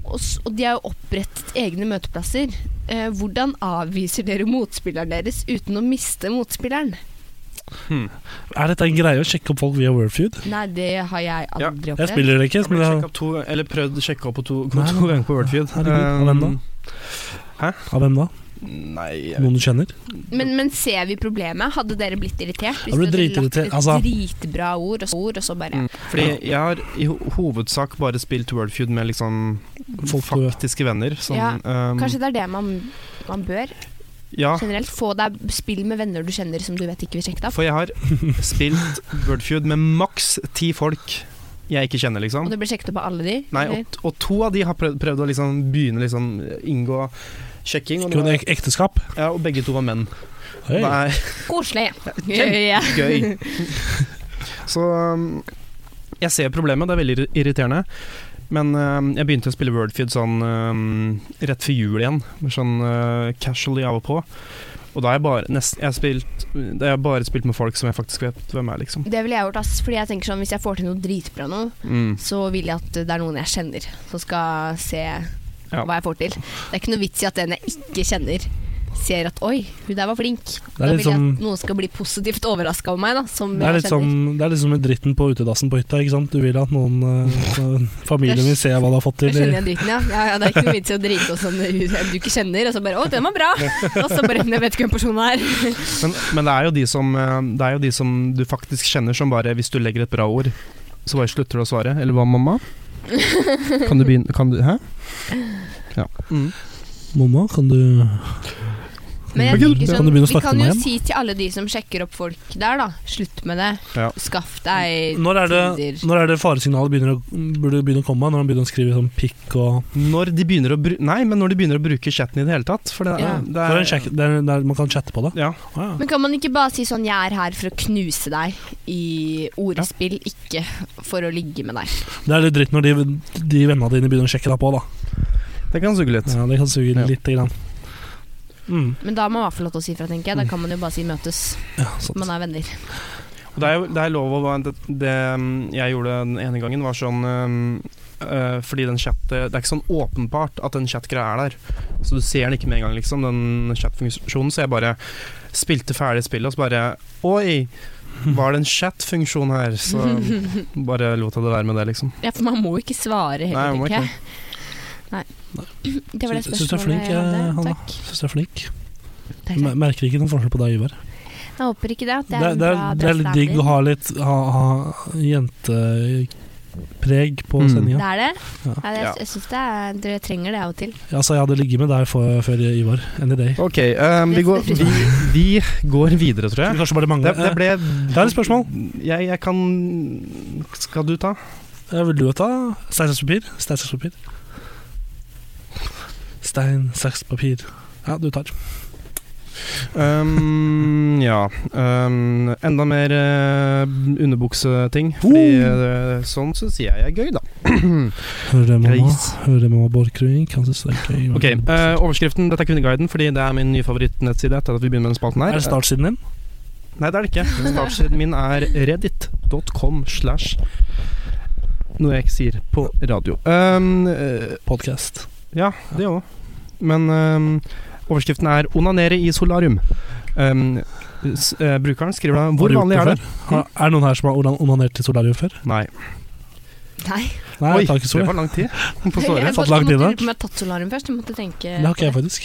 F: Og, s- og de har jo opprettet egne møteplasser. Eh, hvordan avviser dere motspilleren deres uten å miste motspilleren?
B: Er dette en greie å sjekke opp folk via Wordfeud?
F: Nei, det har jeg
C: Ja,
F: aldri
B: Jeg
F: opplevd.
B: spiller det ikke.
C: Jeg ble
B: Men uh, jeg,
C: sjekket opp to, eller prøvd å sjekke opp på to,
B: Nei,
C: to ganger <laughs> på Wordfeed.
B: Herregud, av hvem da? av hvem da?
C: Um, Nei, jeg vet
B: Noen du kjenner?
F: Men, men ser vi problemet? Hadde dere blitt irritert?
B: Jeg ble
F: dere hadde lagt
B: dritirritert,
F: et
B: altså.
F: Dritbra ord og så, ord, og så bare
C: Mm. Fordi jeg har i ho- hovedsak bare spilt Wordfeud med liksom
B: Folk du-
C: faktiske venner. Som,
F: Ja,
C: ehm,
F: Kanskje det er det man, man bør
C: ja,
F: generelt. Få deg spill med venner du kjenner som du vet ikke vil sjekke deg opp.
C: for jeg har spilt Wordfeud med maks ti folk jeg ikke kjenner, liksom.
F: Og du blir sjekket opp av alle de.
C: Nei,
F: eller?
C: og, og to av de har prøvd, prøvd å liksom begynne liksom inngå sjekking, og, det
B: Kun
C: var,
B: ek ekteskap?
C: ja, og begge to var menn.
B: Hei.
C: Det er
F: Koselig.
C: Ja,
B: <laughs>
C: gøy. Så um, jeg ser problemet, det er veldig irri- irriterende. Men um, jeg begynte å spille Wordfeed sånn um, rett før jul igjen, sånn uh, casually av og på. Og da har jeg bare, nest, jeg har spilt, da har jeg bare spilt med folk som jeg faktisk vet hvem er, liksom.
F: Det ville jeg gjort, ass. Fordi jeg tenker sånn, Hvis jeg får til noe dritbra nå,
C: Mm.
F: så vil jeg at det er noen jeg kjenner, som skal se hva jeg får til. Det er ikke noe vits i at den jeg ikke kjenner, ser at 'oi, hun der var flink'. Da
B: litt
F: vil jeg
B: som-
F: at noen skal bli positivt overraska over meg, da. Som
B: Det er,
F: jeg
B: litt som,
F: kjenner.
B: det er litt som med dritten på utedassen på hytta. ikke sant? Du vil at noen eh, familien vil se hva du har fått
F: Da
B: til.
F: skjønner jeg driten, ja. ja, ja det er ikke noe vits i å drite oss om det du ikke kjenner, og så bare 'å, den var bra', og så bare 'jeg vet ikke hvem personen er'.
C: Men, men det, er jo de som, uh, det er jo de som du faktisk kjenner, som bare Hvis du legger et bra ord, så bare slutter du å svare. Eller hva, mamma? Kan du begynne Kan du Hæ? Ja.
B: Mamma, kan du
F: Men jeg
B: Kan du- kan
F: tenker sånn,
B: du begynne å
F: vi
B: snakke
F: kan
B: med
F: jo
B: henne?
F: si til alle de som sjekker opp folk der, da. Slutt med det.
C: Ja.
F: Skaff deg
B: Når er det,
F: Tinder.
B: når er det faresignalet begynner å, burde begynne å komme? Når han begynner å skrive sånn pikk og
C: Når de begynner å bru Nei, men når de begynner å bruke chatten i det hele tatt. For det,
F: Ja.
C: det
B: For en sjekk, det er, det er, Man kan chatte på det?
C: Eh. Ja.
B: Ah, ja.
F: Men kan man ikke bare si sånn 'jeg er her for å knuse deg' i ordspill, ikke for å ligge med deg?
B: Det er litt dritt når de, de vennene dine begynner å sjekke deg på, da.
C: det kan suge litt.
B: Ja, det kan suge
C: Ja.
B: lite grann. Mm,
F: Men da har man i hvert fall lov til å si fra, tenker jeg. Da kan man jo bare si 'møtes'.
B: ja, sånn sant.
F: Man er venner.
C: Og det er, jo- det er lov å være det, det mm, jeg gjorde den ene gangen, var sånn mm, øh, Fordi den chat Det er ikke sånn åpenbart at den chat-greia er der. Så du ser den ikke med en gang, liksom, den chat-funksjonen. Så jeg bare spilte ferdig spillet, og så bare Oi! Var det en chat-funksjon her? Så bare lot jeg det være med det, liksom.
F: Ja, for man må ikke svare
C: Nei,
F: heller,
C: man må
F: tenker jeg. Nei. Det var det
B: Syns- syns du er
F: spørsmålet
B: flink, eh,
F: jeg hadde.
B: Hanna.
F: Takk.
B: Syns du er flink.
F: Takk,
B: Mer-
F: takk.
B: Merker ikke noen forskjell på deg, Ivar.
F: Jeg håper ikke det. At
B: Det
F: det er,
B: er, det er,
F: en
B: det
F: bra
B: er litt digg å ha litt ha, ha jentepreg på
C: Mm.
F: Det
B: sendinga.
F: er det?
B: Ja.
F: Ja,
C: Ja.
F: jeg jeg syns dere trenger det av og til.
B: Altså, jeg hadde ligget med deg for, før Ivar. Any day.
C: Ok, ehm, vi, går, vi, vi går videre, tror jeg.
B: Skulle kanskje bare mangle
C: Det, det ble
B: Jeg har et spørsmål.
C: Jeg, jeg kan Skal du ta?
B: Eh, Vil du ta stein, saks, papir? Stein, saks, papir. Stein, saks, papir. Ja, du tar.
C: Um, ja. Um, enda mer eh, underbukseting. Fordi eh, sånn syns jeg er gøy, da.
B: Hører det, mamma.
C: Gris.
B: Hører det, mamma Borchgrevink. Han syns det er gøy.
C: Ok, eh, Overskriften dette er Kvinneguiden, fordi det er min nye favorittnettside. Etter at vi begynner med den spalten her
B: er det startsiden din?
C: Eh, Nei, det er det ikke. Startsiden min er reddit.com slash noe jeg ikke sier på radio. Um, eh,
B: Podkast.
C: Ja, det òg. Men øhm, overskriften er 'Onanere i solarium'. Øhm, s eh, brukeren skriver da Hvor vanlig er det? Hmm?
B: Har, er det noen her som har onan- onanert til solarium før?
C: Nei.
F: Nei.
B: Nei,
C: Oi,
B: jeg tar ikke
C: det
B: sol.
C: var lang tid <laughs> på
F: Jeg
C: såret.
B: fått lagd
F: måtte- måtte
B: inn det.
F: lure på om jeg har tatt solarium først. Jeg måtte tenke
B: Det har ikke jeg,
F: på det.
B: faktisk.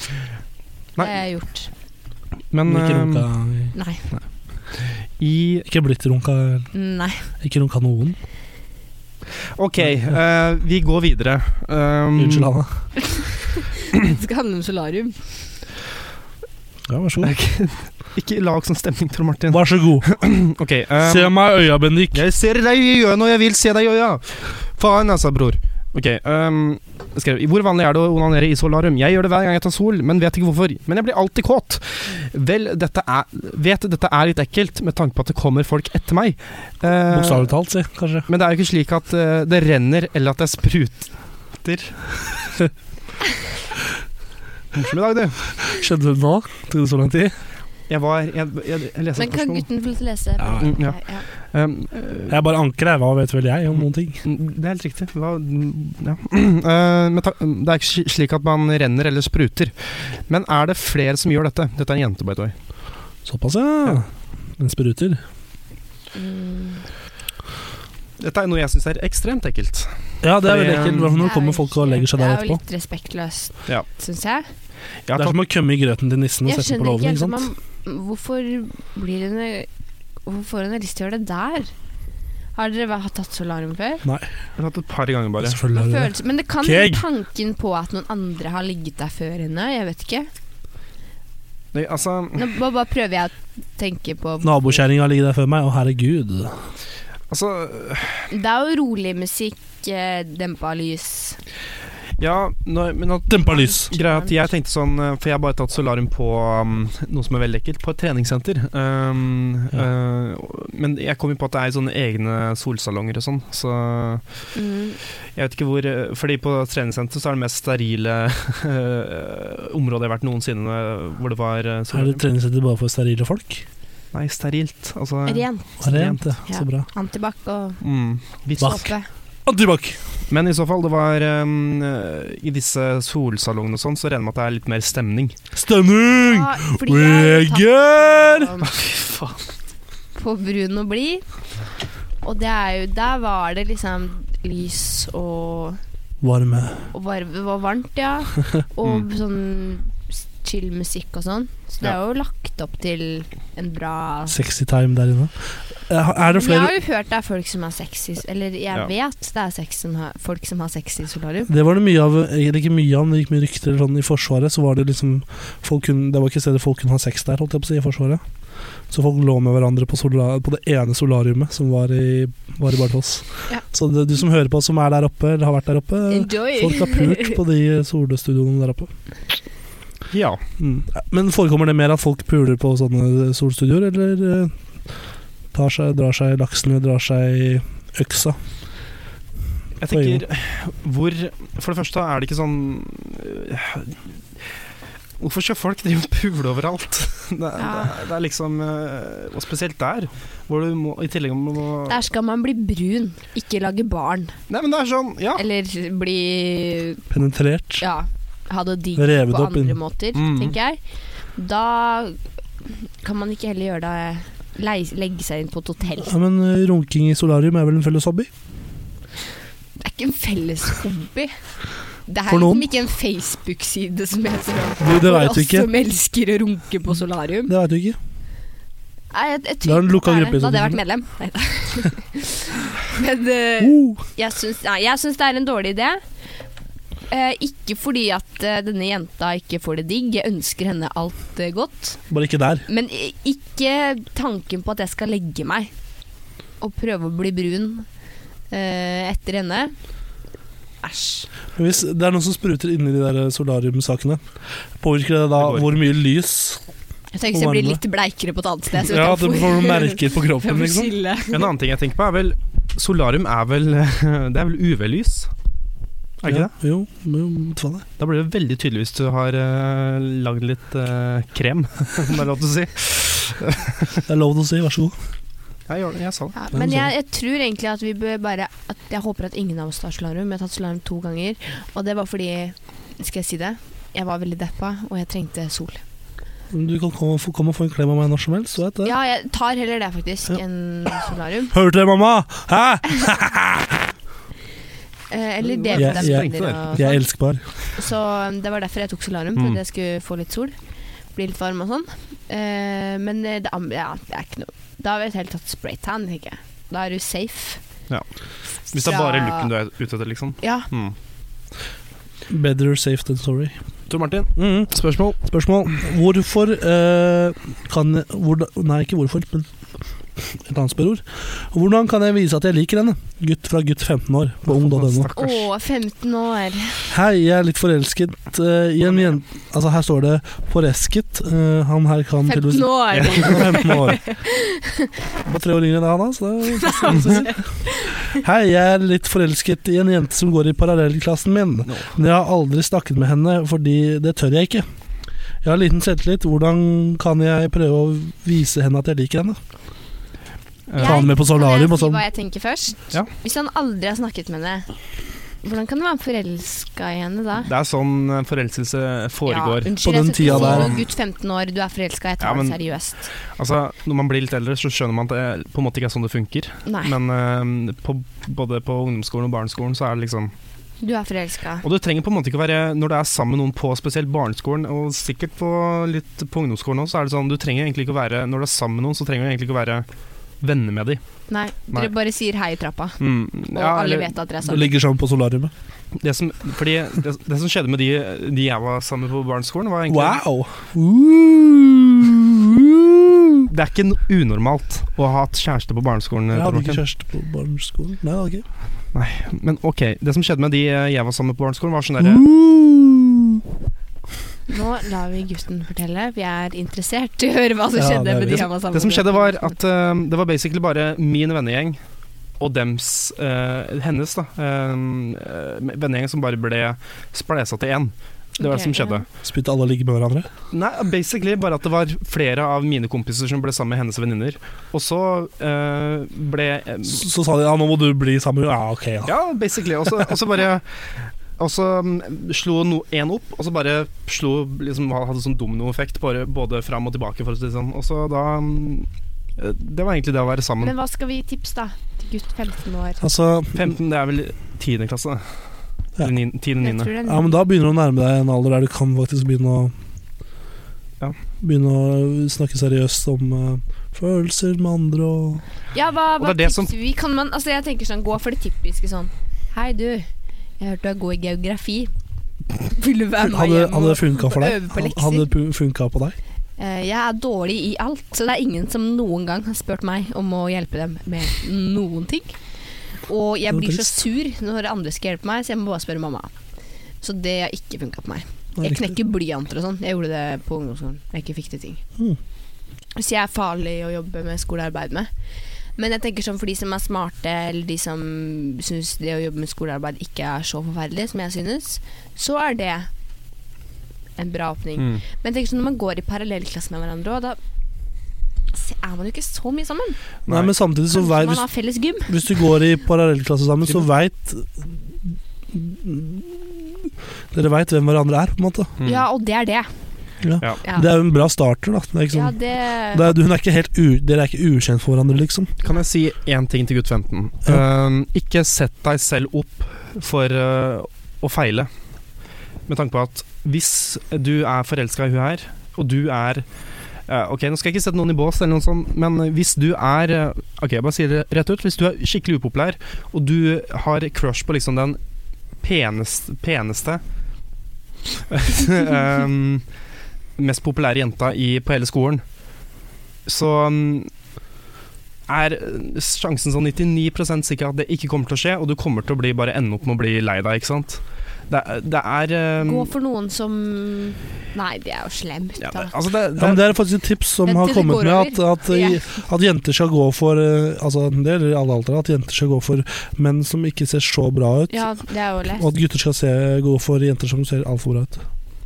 F: Det
C: Nei.
F: har jeg gjort.
C: Men ehm,
B: ikke,
C: øhm,
B: runka,
F: Nei.
C: i
B: ikke blitt runka
F: Nei. <laughs>
B: Ikke runka noen.
C: Ok, eh, vi går videre. Um, Øhm,
B: Unnskyld, Hanna.
F: Det skal handle om solarium.
B: Ja, vær så god.
C: Ikke lag sånn stemning, Tor Martin.
B: Vær så god.
C: Ok, øhm,
B: Se meg i øya, Bendik.
C: Ehm, Jeg ser deg i øynene, og jeg vil se deg i øya! Faen, altså, bror. Ok, øhm, jeg skrev Hvor vanlig er det å onanere i solarium? Jeg gjør det hver gang jeg tar sol, men vet ikke hvorfor. Men jeg blir alltid kåt. Vel, dette er Vet dette er litt ekkelt, med tanke på at det kommer folk etter meg. Eh,
B: Bokstavelig talt, si. Kanskje.
C: men det er jo ikke slik at eh, det renner, eller at det spruter. Morsom i dag, du.
B: Skjedde det nå? Tok det så lang tid?
C: Jeg var Jeg, jeg, jeg leste
F: Men
C: et
F: kan
C: spørsmål.
F: gutten få lov til å lese?
B: Ja.
C: Mm, ja. Um,
B: Jeg er bare anker her, hva vet vel jeg om noen ting?
C: Det er helt riktig. Hva, ja. <clears throat> Eh, men ta, det er ikke sli- slik at man renner eller spruter. Men er det flere som gjør dette? Dette er en jente, by the way.
B: Såpass, ja. En spruter.
F: Mm.
C: Dette er noe jeg syns er ekstremt ekkelt.
B: Ja, det er veldig
C: Fordi,
B: ekkelt.
C: um,
B: i hvert fall Når det kommer folk og legger seg der etterpå.
F: Det ehm, er jo litt respektløst,
C: Ja.
F: syns
C: Jeg har
F: jeg.
B: Det er
C: tatt,
B: som å kømme i grøten til nissen og
F: Jeg
B: sette den
F: skjønner
B: på
F: ikke
B: låven.
F: helt
B: Ikke
F: om
B: sant?
F: man Hvorfor blir hun Hvorfor får hun lyst til å gjøre det der? Har dere vært- tatt solarium før?
C: jeg har tatt et par ganger, bare.
B: Selvfølgelig
F: Man
B: er det det.
F: føler, men det kan
B: Keg.
F: være tanken på at noen andre har ligget der før henne. Jeg vet ikke.
C: Nei, altså,
F: Nå ba- bare prøver jeg å tenke på
B: Nabokjerringa ligger der før meg, og herregud.
C: altså
F: Det er jo rolig musikk, eh, dempa lys.
C: Ja, nå- men at
B: Dempa lys.
C: Greia er at jeg tenkte sånn eh, For jeg har bare tatt solarium på um, noe som er veldig ekkelt, på et treningssenter. Um, eh, men jeg kom jo på at det er sånne egne solsalonger og sånn, så
F: Mm.
C: jeg vet ikke hvor eh, Fordi på treningssenter så er det mest sterile <laughs> eh, området jeg har vært noensinne eh, hvor det var eh,
B: Er det
C: solarium.
B: treningssenter bare for sterile folk?
C: Nei, sterilt. Altså
F: Rent.
B: Er det rent, ja. Så
F: Ja.
B: bra.
F: Antibac og
C: mm, vits.
B: Bak.
F: såpe.
B: Antibac!
C: Men i så fall, det var um, eh, I disse solsalongene og sånn, så regner jeg med at det er litt mer stemning.
B: Stemning!
F: Ja, fordi jeg har jo
B: Weger!
F: tatt på- på brun og blid. Og det er jo Der var det liksom lys og,
B: Varme.
F: og var, det var
B: <laughs>
F: varmt, ja. Og
B: Mm.
F: sånn s- chill musikk og sånn. Så det er jo lagt opp til en bra
B: Sexy time der inne. Eh, Er det flere
F: Men Jeg har jo hørt det er folk som har sex i Eller jeg
C: Ja.
F: vet det er sex som har, folk som har sex i solarium.
B: Det var det mye av, eh, eller ikke mye av, men det gikk mye rykter sånn, i Forsvaret. Så var det liksom folk kunne, Det var ikke stedet folk kunne ha sex der, holdt jeg på å si, i Forsvaret. Så folk lå med hverandre på, sola, på det ene solariumet som var i, var i Bardufoss.
F: Ja.
B: Så det, du som hører på, som er der oppe, eller har vært der oppe
D: Enjoy!
B: Eh, Folk har pult på de solstudioene der oppe.
C: Ja.
B: Mm. Men forekommer det mer at folk puler på sånne solstudioer, eller eh, tar seg, drar seg laksen eller drar seg øksa?
C: Jeg
B: På øyene.
C: tenker hvor For det første er det ikke sånn øh, Hvorfor skal folk drive og pule overalt? <laughs> Det, er-
F: Ja.
C: det, er- det er liksom øh, Og spesielt der, hvor du må i tillegg må
F: Der skal man bli brun, ikke lage barn.
C: Nei, men det er sånn, ja.
F: Eller bli
B: Penetrert?
F: Ja, ha det digg
B: Revet
F: på
B: opp
F: andre
B: inn.
F: måter,
C: Mm.
F: tenker jeg. Da kan man ikke heller gjøre det lei- Legge seg inn på et hotell.
B: Ja, men eh, runking i solarium er vel en felles hobby?
F: Det er ikke en felles hobby. Det er
B: For noen.
F: liksom ikke en Facebook-side som heter det.
B: Du, det
F: For
B: veit
F: oss
B: du ikke.
F: som elsker å runke på solarium.
B: Det vet du ikke.
F: Nei, jeg, jeg
B: Det er en
F: tror
B: lukka
F: ikke
B: gruppe i
F: Da hadde jeg vært
B: sånn.
F: medlem. Nei da. <laughs> Men eh,
B: Oh,
F: jeg syns, nei, jeg syns det er en dårlig idé. Eh, ikke fordi at eh, denne jenta ikke får det digg, jeg ønsker henne alt eh, godt.
B: bare ikke der.
F: Men i- ikke tanken på at jeg skal legge meg og prøve å bli brun eh, etter henne. Æsj.
B: Men Hvis det er noen som spruter inni de der eh, solariumsakene, påvirker det da
C: Det går.
B: hvor mye lys
F: Jeg tenker jeg
B: Og
F: blir
B: varme.
F: litt bleikere på et annet sted. så vet
B: Ja,
F: jeg
B: det
F: hvorfor.
B: får noen
F: <laughs>
B: merker på
D: Jeg
B: kroppen,
D: får
B: liksom?
D: skille.
C: En annen ting jeg tenker på, er vel Solarium er vel <laughs> Det er vel UV-lys? Er det ikke det?
B: Ja, Jo, jo, vet du hva det er.
C: Da blir det veldig tydelig hvis du har øh, lagd litt øh, krem, <laughs> om det er lov til å si.
B: Det er lov til å si, vær så god.
C: Jeg, gjør det, jeg sa det.
F: Ja,
B: er sånn.
F: men
B: noe
F: jeg, jeg tror egentlig at vi bør bare at Jeg håper at ingen av oss tar solarium. Jeg har tatt solarium to ganger, og det var fordi Skal jeg si det? Jeg var veldig deppa, og jeg trengte sol.
B: Men Du kan komme, og få- komme og få en klem av meg når som helst, du vet det.
F: Ja, jeg tar heller det, faktisk,
B: Ja.
F: enn solarium.
B: Hørte du det, mamma? Hæ?
F: Eh, eller
C: Jeg-
B: jeg
F: D-vitaminer
C: trengte det.
F: og
B: Jeg er elskbar.
F: Så um, det var derfor jeg tok solarium,
C: Mm.
F: for at jeg skulle få litt sol. Bli litt varm og sånn. Eh, men eh, det, am- ja, det er ikke noe Da har vi helt tatt spraytan, tenker jeg. Da er du safe.
C: Ja. Hvis det er bare looken du er ute etter, liksom.
F: Ja.
C: Mm.
B: Better safe than sorry.
C: Tor Martin,
B: Mm.
C: spørsmål?
B: Spørsmål. Hvorfor eh, kan jeg hvordan, Nei, ikke hvorfor, men et annet spørreord. Hvordan kan jeg vise at jeg liker henne? Gutt fra gutt 15 år på ung.no.
F: Å,
C: Stakkars.
F: 15 år.
B: Hei, jeg er litt forelsket eh, i en jente Altså, her står det 'forelsket'. Eh, han her kan
D: 15
B: <laughs>
D: år!
B: 15
F: <laughs>
B: år. På tre år yngre enn han, altså. Det er- Hei, jeg er litt forelsket i en jente som går i parallellklassen min.
C: Nå.
B: Men jeg har aldri snakket med henne, fordi det tør jeg ikke. Jeg har liten selvtillit. Hvordan kan jeg prøve å vise henne at jeg liker henne?
C: Eh,
F: Ja.
B: Ta den med på
F: Kan
B: solarium
F: jeg
B: og
F: si
B: sånn.
F: hva jeg tenker først?
C: Ja.
F: Hvis han aldri har snakket med henne, hvordan kan du være forelska i henne da?
C: Det er sånn eh, forelskelse foregår.
B: På
F: Ja, unnskyld,
B: den
F: jeg skal
B: tida
F: ikke
B: der.
F: si noe gutt 15 år, du er forelska, jeg tar
C: Ja, men-
F: det seriøst.
C: Altså, når man blir litt eldre, så skjønner man at det på en måte ikke er sånn det funker.
F: Nei,
C: Men eh, på, både på ungdomsskolen og barneskolen så er det liksom
F: du er forelska.
C: Og du trenger på en måte ikke være Når du er sammen med noen på spesielt barneskolen, og sikkert på litt på ungdomsskolen òg, så er det sånn du trenger egentlig ikke å være Når du er sammen med noen, så trenger du egentlig ikke å være venner med dem.
F: Nei,
C: Nei.
F: dere bare sier hei i trappa, og alle vet at dere er
B: Det
F: sammen.
B: ligger sammen på solariumet.
C: Det som, fordi det, det som skjedde med de, de jeg var sammen med på barneskolen, var egentlig
B: Wow! Uh,
C: Det er ikke no- unormalt å ha hatt kjæreste på barneskolen.
B: Jeg hadde
C: Torben.
B: ikke kjæreste på barneskolen. Nei, jeg hadde ikke.
C: Men ok, det som skjedde med de eh, jeg var sammen med på barneskolen, var sånn derre
B: Mm. Uh,
F: Nå lar vi gutten fortelle, vi er interessert i å høre hva som
B: Ja, det
F: skjedde
B: er
F: med
B: vi.
F: de han var sammen
C: Det som
F: med.
C: skjedde, var at eh, det var basically bare min vennegjeng og dems eh, hennes, da. eh, vennegjeng som bare ble splesa til én. Det var
F: Ok,
C: det som skjedde.
B: Spytte alle ligge med hverandre.
C: Nei, basically bare at det var flere av mine kompiser som ble sammen med hennes venninner. Og så eh, ble eh,
B: Så, så sa de ja, nå må du bli sammen. Ja, ok, ja.
C: Ja, basically. Og så- og så bare Og så mm, slo no- en opp, og så bare slo liksom, Hadde sånn dominoeffekt bare, både fram og tilbake, for å si det sånn. Og så da mm, eh, Det var egentlig det å være sammen.
F: Men hva skal vi tipse, da? Til gutt 15 år.
B: Altså,
C: 15, det er vel 10. klasse, det.
B: Ja.
C: Eller nin- 10.
F: Jeg
C: 9.
F: tror det er
B: ja, men da begynner du å nærme deg en alder der du kan faktisk begynne å
C: Ja.
B: Begynne å snakke seriøst om eh, følelser med andre og
F: Ja,
C: Og
F: hva, hva
C: det er det
F: tipser
C: som-
F: vi? Kan man, altså jeg tenker sånn, gå for det typiske sånn Hei du, jeg hørte du er god i geografi <laughs> Vil du være med
B: Hadde,
F: hjem
B: hadde det
F: og
B: funka for deg?
F: øve på
B: Hadde
F: lekser?
B: hadde det funka på deg?
F: Eh, Jeg er dårlig i alt Så det er ingen som noen gang har spurt meg Om å hjelpe dem med noen ting Og jeg
B: Det var
F: blir så
B: trist.
F: sur når andre skal hjelpe meg Så jeg må bare spørre mamma Så det har ikke funket på meg
B: Nei,
F: Jeg
B: riktig.
F: knekker blyanter og sånn. Jeg gjorde det på ungdomsskolen. Jeg ikke fikk til ting.
B: Mm.
F: Så jeg er farlig å jobbe med skolearbeid med. Men jeg tenker sånn for de som er smarte, eller de som syns det å jobbe med skolearbeid ikke er så forferdelig som jeg synes, så er det en bra åpning.
C: Mm.
F: Men jeg tenker sånn når man går i parallellklasse med hverandre òg, da se- er man jo ikke så mye sammen.
B: Nei, men samtidig så
F: Kanskje
B: vei,
F: man
B: hvis,
F: har felles gym.
B: hvis du går i parallellklasse sammen, så veit Dere veit hvem hverandre er, på en måte.
C: Mm.
F: Ja, og det er det.
C: Ja.
F: Ja.
B: Det er jo en bra starter, da. Det er ikke
F: ja,
B: sånn,
F: det
B: det er, hun er ikke helt u, dere er ikke ukjent for hverandre, liksom.
C: Kan jeg si én ting til gutt 15? Um, ikke sett deg selv opp for uh, å feile. Med tanke på at hvis du er forelska i hun her, og du er eh, Ok, nå skal jeg ikke sette noen i bås, eller noe sånt, men hvis du er eh, Ok, jeg bare sier det rett ut. Hvis du er skikkelig upopulær, og du har crush på liksom den peneste, peneste <laughs> um, Mest populære jenta i, på hele skolen, så um, er sjansen sånn 99 sikker at det ikke kommer til å skje, og du kommer til å bli bare ende opp med å bli lei deg, ikke sant? Det, er- det er um,
F: Gå for noen som Nei, det er jo slemt,
C: ja,
F: da.
C: det, altså det,
B: Ja, men det er faktisk et tips som
F: Vent
B: har
F: til det
B: kommet
F: går
B: med at,
F: over.
B: at, at jenter skal gå for eh, Altså, det gjelder i alle aldre, at jenter skal gå for menn som ikke ser så bra ut.
F: Ja, det er jo lett.
B: Og at gutter skal se, gå for jenter som ser altfor bra ut.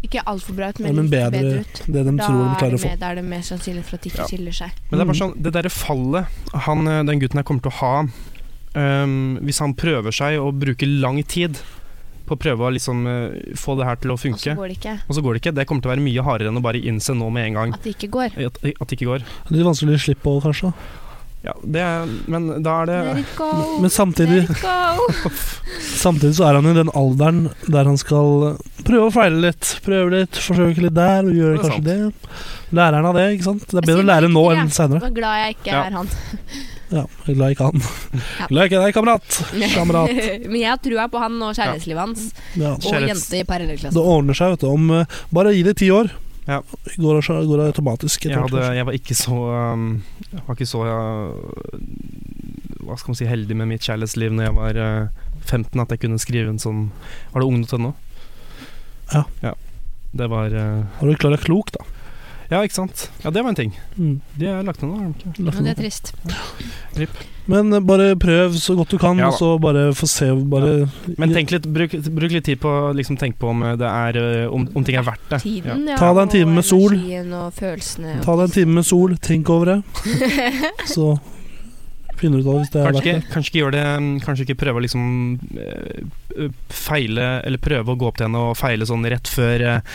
F: Ikke altfor bra ut,
B: Ja,
F: men,
B: men
F: litt
B: bedre,
F: bedre ut.
B: det de
F: Da
B: tror de
F: er
B: klarer å
F: det,
B: få.
F: mer, da er det mer sannsynlig for at de ikke
C: Ja.
F: skiller seg.
C: Men det er bare sånn, det derre fallet han, eh, den gutten her kommer til å ha ehm, Hvis han prøver seg og bruker lang tid på å prøve å liksom eh, få det her til å
F: Og så
B: Altså,
C: funke,
F: går det ikke.
C: og så går det ikke, det kommer til å være mye hardere enn å bare innse nå med en gang
F: At det ikke går.
C: at, at det ikke går.
B: Litt vanskelig å slippe på, kanskje. da.
C: Ja, det er, men da er det
F: Let it go.
B: Men samtidig,
F: Let it go.
B: samtidig så er han i den alderen der han skal eh, prøve å feile litt. Prøve litt, forsøke litt der, og gjøre
C: Det er
B: kanskje det. Lærer han av det, ikke sant? Det er
F: Jeg
B: bedre å
F: sier
B: lære nå
F: ikke
B: enn
F: det.
B: seinere.
F: Var glad jeg ikke
C: Ja.
F: er han.
B: Ja, jeg er glad jeg ikke han.
F: Ja.
B: Glad jeg ikke er deg, kamerat. Kamerat.
F: <laughs> men jeg har trua på han og kjærlighetslivet hans.
B: Ja.
F: Og
C: Kjærlighets-
F: jente i
B: Det
F: parallellklassen.
B: ordner seg, vet du. Om, eh, bare gi det ti år.
C: Ja.
B: Går, det, går det automatisk. etter
C: jeg,
B: hvert,
C: hadde,
B: kanskje.
C: jeg var ikke så ehm, Jeg var ikke så eh, Hva skal man si heldig med mitt kjærlighetsliv Når jeg var eh, 15, at jeg kunne skrive en sånn Var det ung.no?
B: Ja.
C: Det var eh,
B: Har du klart deg klok, da?
C: Ja, ikke sant? Ja, det var en ting.
B: Mm.
C: De er lagt ned nå, har de ikke?
F: Og det er trist.
B: Men eh, bare prøv så godt du kan,
C: Ja da.
B: og så bare få se bare
C: Men tenk litt, bruk, bruk litt tid på å liksom tenke på om, det er, eh, om, om ting er verdt det. Ja.
F: Tiden, ja.
B: Ta deg en time
F: og
B: med sol.
F: <laughs> energien Og følelsene.
B: Ta deg en time med sol, tenk over det. Så Finner ut av hvis det er
C: Kanskje
B: verdt det.
C: ikke, kanskje ikke gjør det mm, Kanskje ikke prøve å liksom eh, feile Eller prøve å gå opp til henne og feile sånn rett før eh,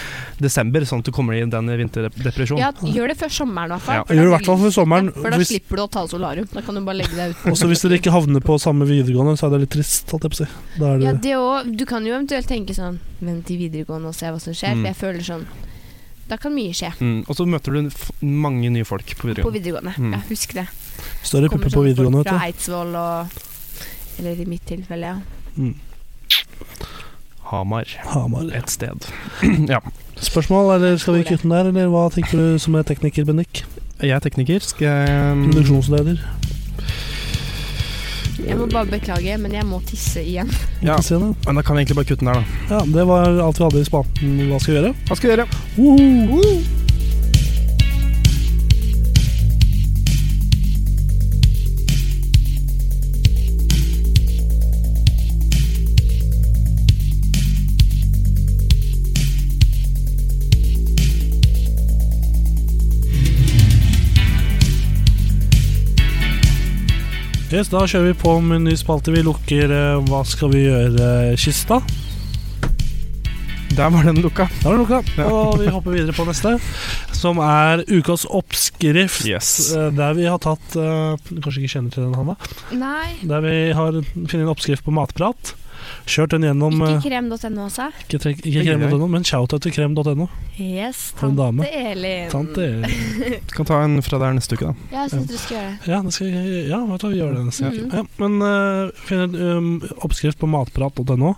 C: desember, sånn at du kommer i den vinterdepresjonen.
F: Ja, gjør det før sommeren, i hvert fall.
C: Ja.
F: for
B: Jeg gjør det i
F: da
B: hvert fall for sommeren.
F: Ja, for da
B: Hvis,
F: slipper du å ta solarium. Da kan du bare legge deg ut.
B: også hvis dere ikke havner på samme videregående, så er det litt trist. Holdt jeg på å si. Da er det,
F: Ja, det også, du kan jo eventuelt tenke sånn Vent til videregående og se hva som skjer.
C: Mm.
F: For jeg føler sånn Da kan mye skje
C: Mm, og så møter du f mange nye folk på
F: på
C: videregående.
F: videregående.
C: Mm.
F: Ja, husk det.
B: Større pupper
F: Kommer
B: på
F: sånn
B: videregående,
F: folk fra
B: vet
F: Eidsvoll og Eller i mitt tilfelle, ja.
C: Hamar
B: du. Hamar.
C: et sted. <clears throat>
B: Spørsmål, eller skal vi kutte den der, eller hva tenker du som er tekniker, Bendik?
C: Jeg er tekniker. Skal jeg mm,
B: Produksjonsleder?
F: Jeg må bare beklage, men jeg må tisse igjen.
C: Ja.
B: Ikke se det.
C: Men da kan vi egentlig bare kutte den her, da.
B: Ja, det var alt vi hadde i spalten Hva skal vi gjøre?
C: Hva skal vi gjøre?
B: Woohoo! Yes, da kjører vi på med en ny spalte. Vi lukker eh, Hva skal vi eh, gjøre-kista.
C: Der var den lukka.
B: Da er det lukka. Og vi hopper videre på neste, som er ukas oppskrift.
C: Yes.
B: Eh, Der vi har tatt eh, du Kanskje ikke kjenner til den, Hanna.
F: Nei.
B: Der vi har funnet en oppskrift på matprat. Kjørt den gjennom
F: Ikke
B: eh,
F: krem.no, altså.
B: Ikke, tre- ikke krem.no, men shoutout til krem.no.
F: Mm. Yes,
B: For en dame.
F: tante Elin.
B: Tante
C: Kan ta en fra der neste uke, da.
F: Ja, jeg syns du skal gjøre det.
B: Ja, det skal, vi- ja vet du, hva, vi gjør det neste uke.
F: Mhm.
B: Ja, men eh, finner um, oppskrift på matprat.no.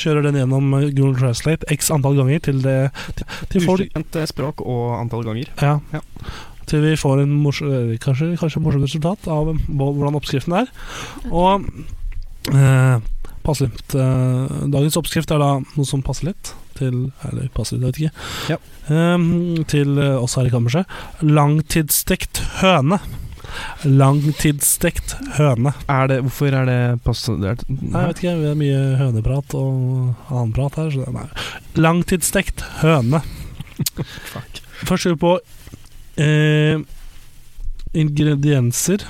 B: Kjører den gjennom eh, Google Translate x antall ganger til, det, til, til folk
C: Ukjent eh, språk og antall ganger.
B: Ja.
C: Ja.
B: Til vi får en mors eh, kanskje, kanskje morsomt resultat av hva- hvordan oppskriften er. Og eh, passer litt eh, Dagens oppskrift er da noe som passer litt til Eller passer litt, jeg vet ikke. Eh, til eh, oss her i kammerset. Langtidsstekt høne. Langtidsstekt høne.
C: Er det, hvorfor er det passert?
B: Nei, jeg vet ikke, vi har mye høneprat og annen prat her, så det- nei. Langtidsstekt høne.
C: Fuck.
B: Først skal vi på eh, ingredienser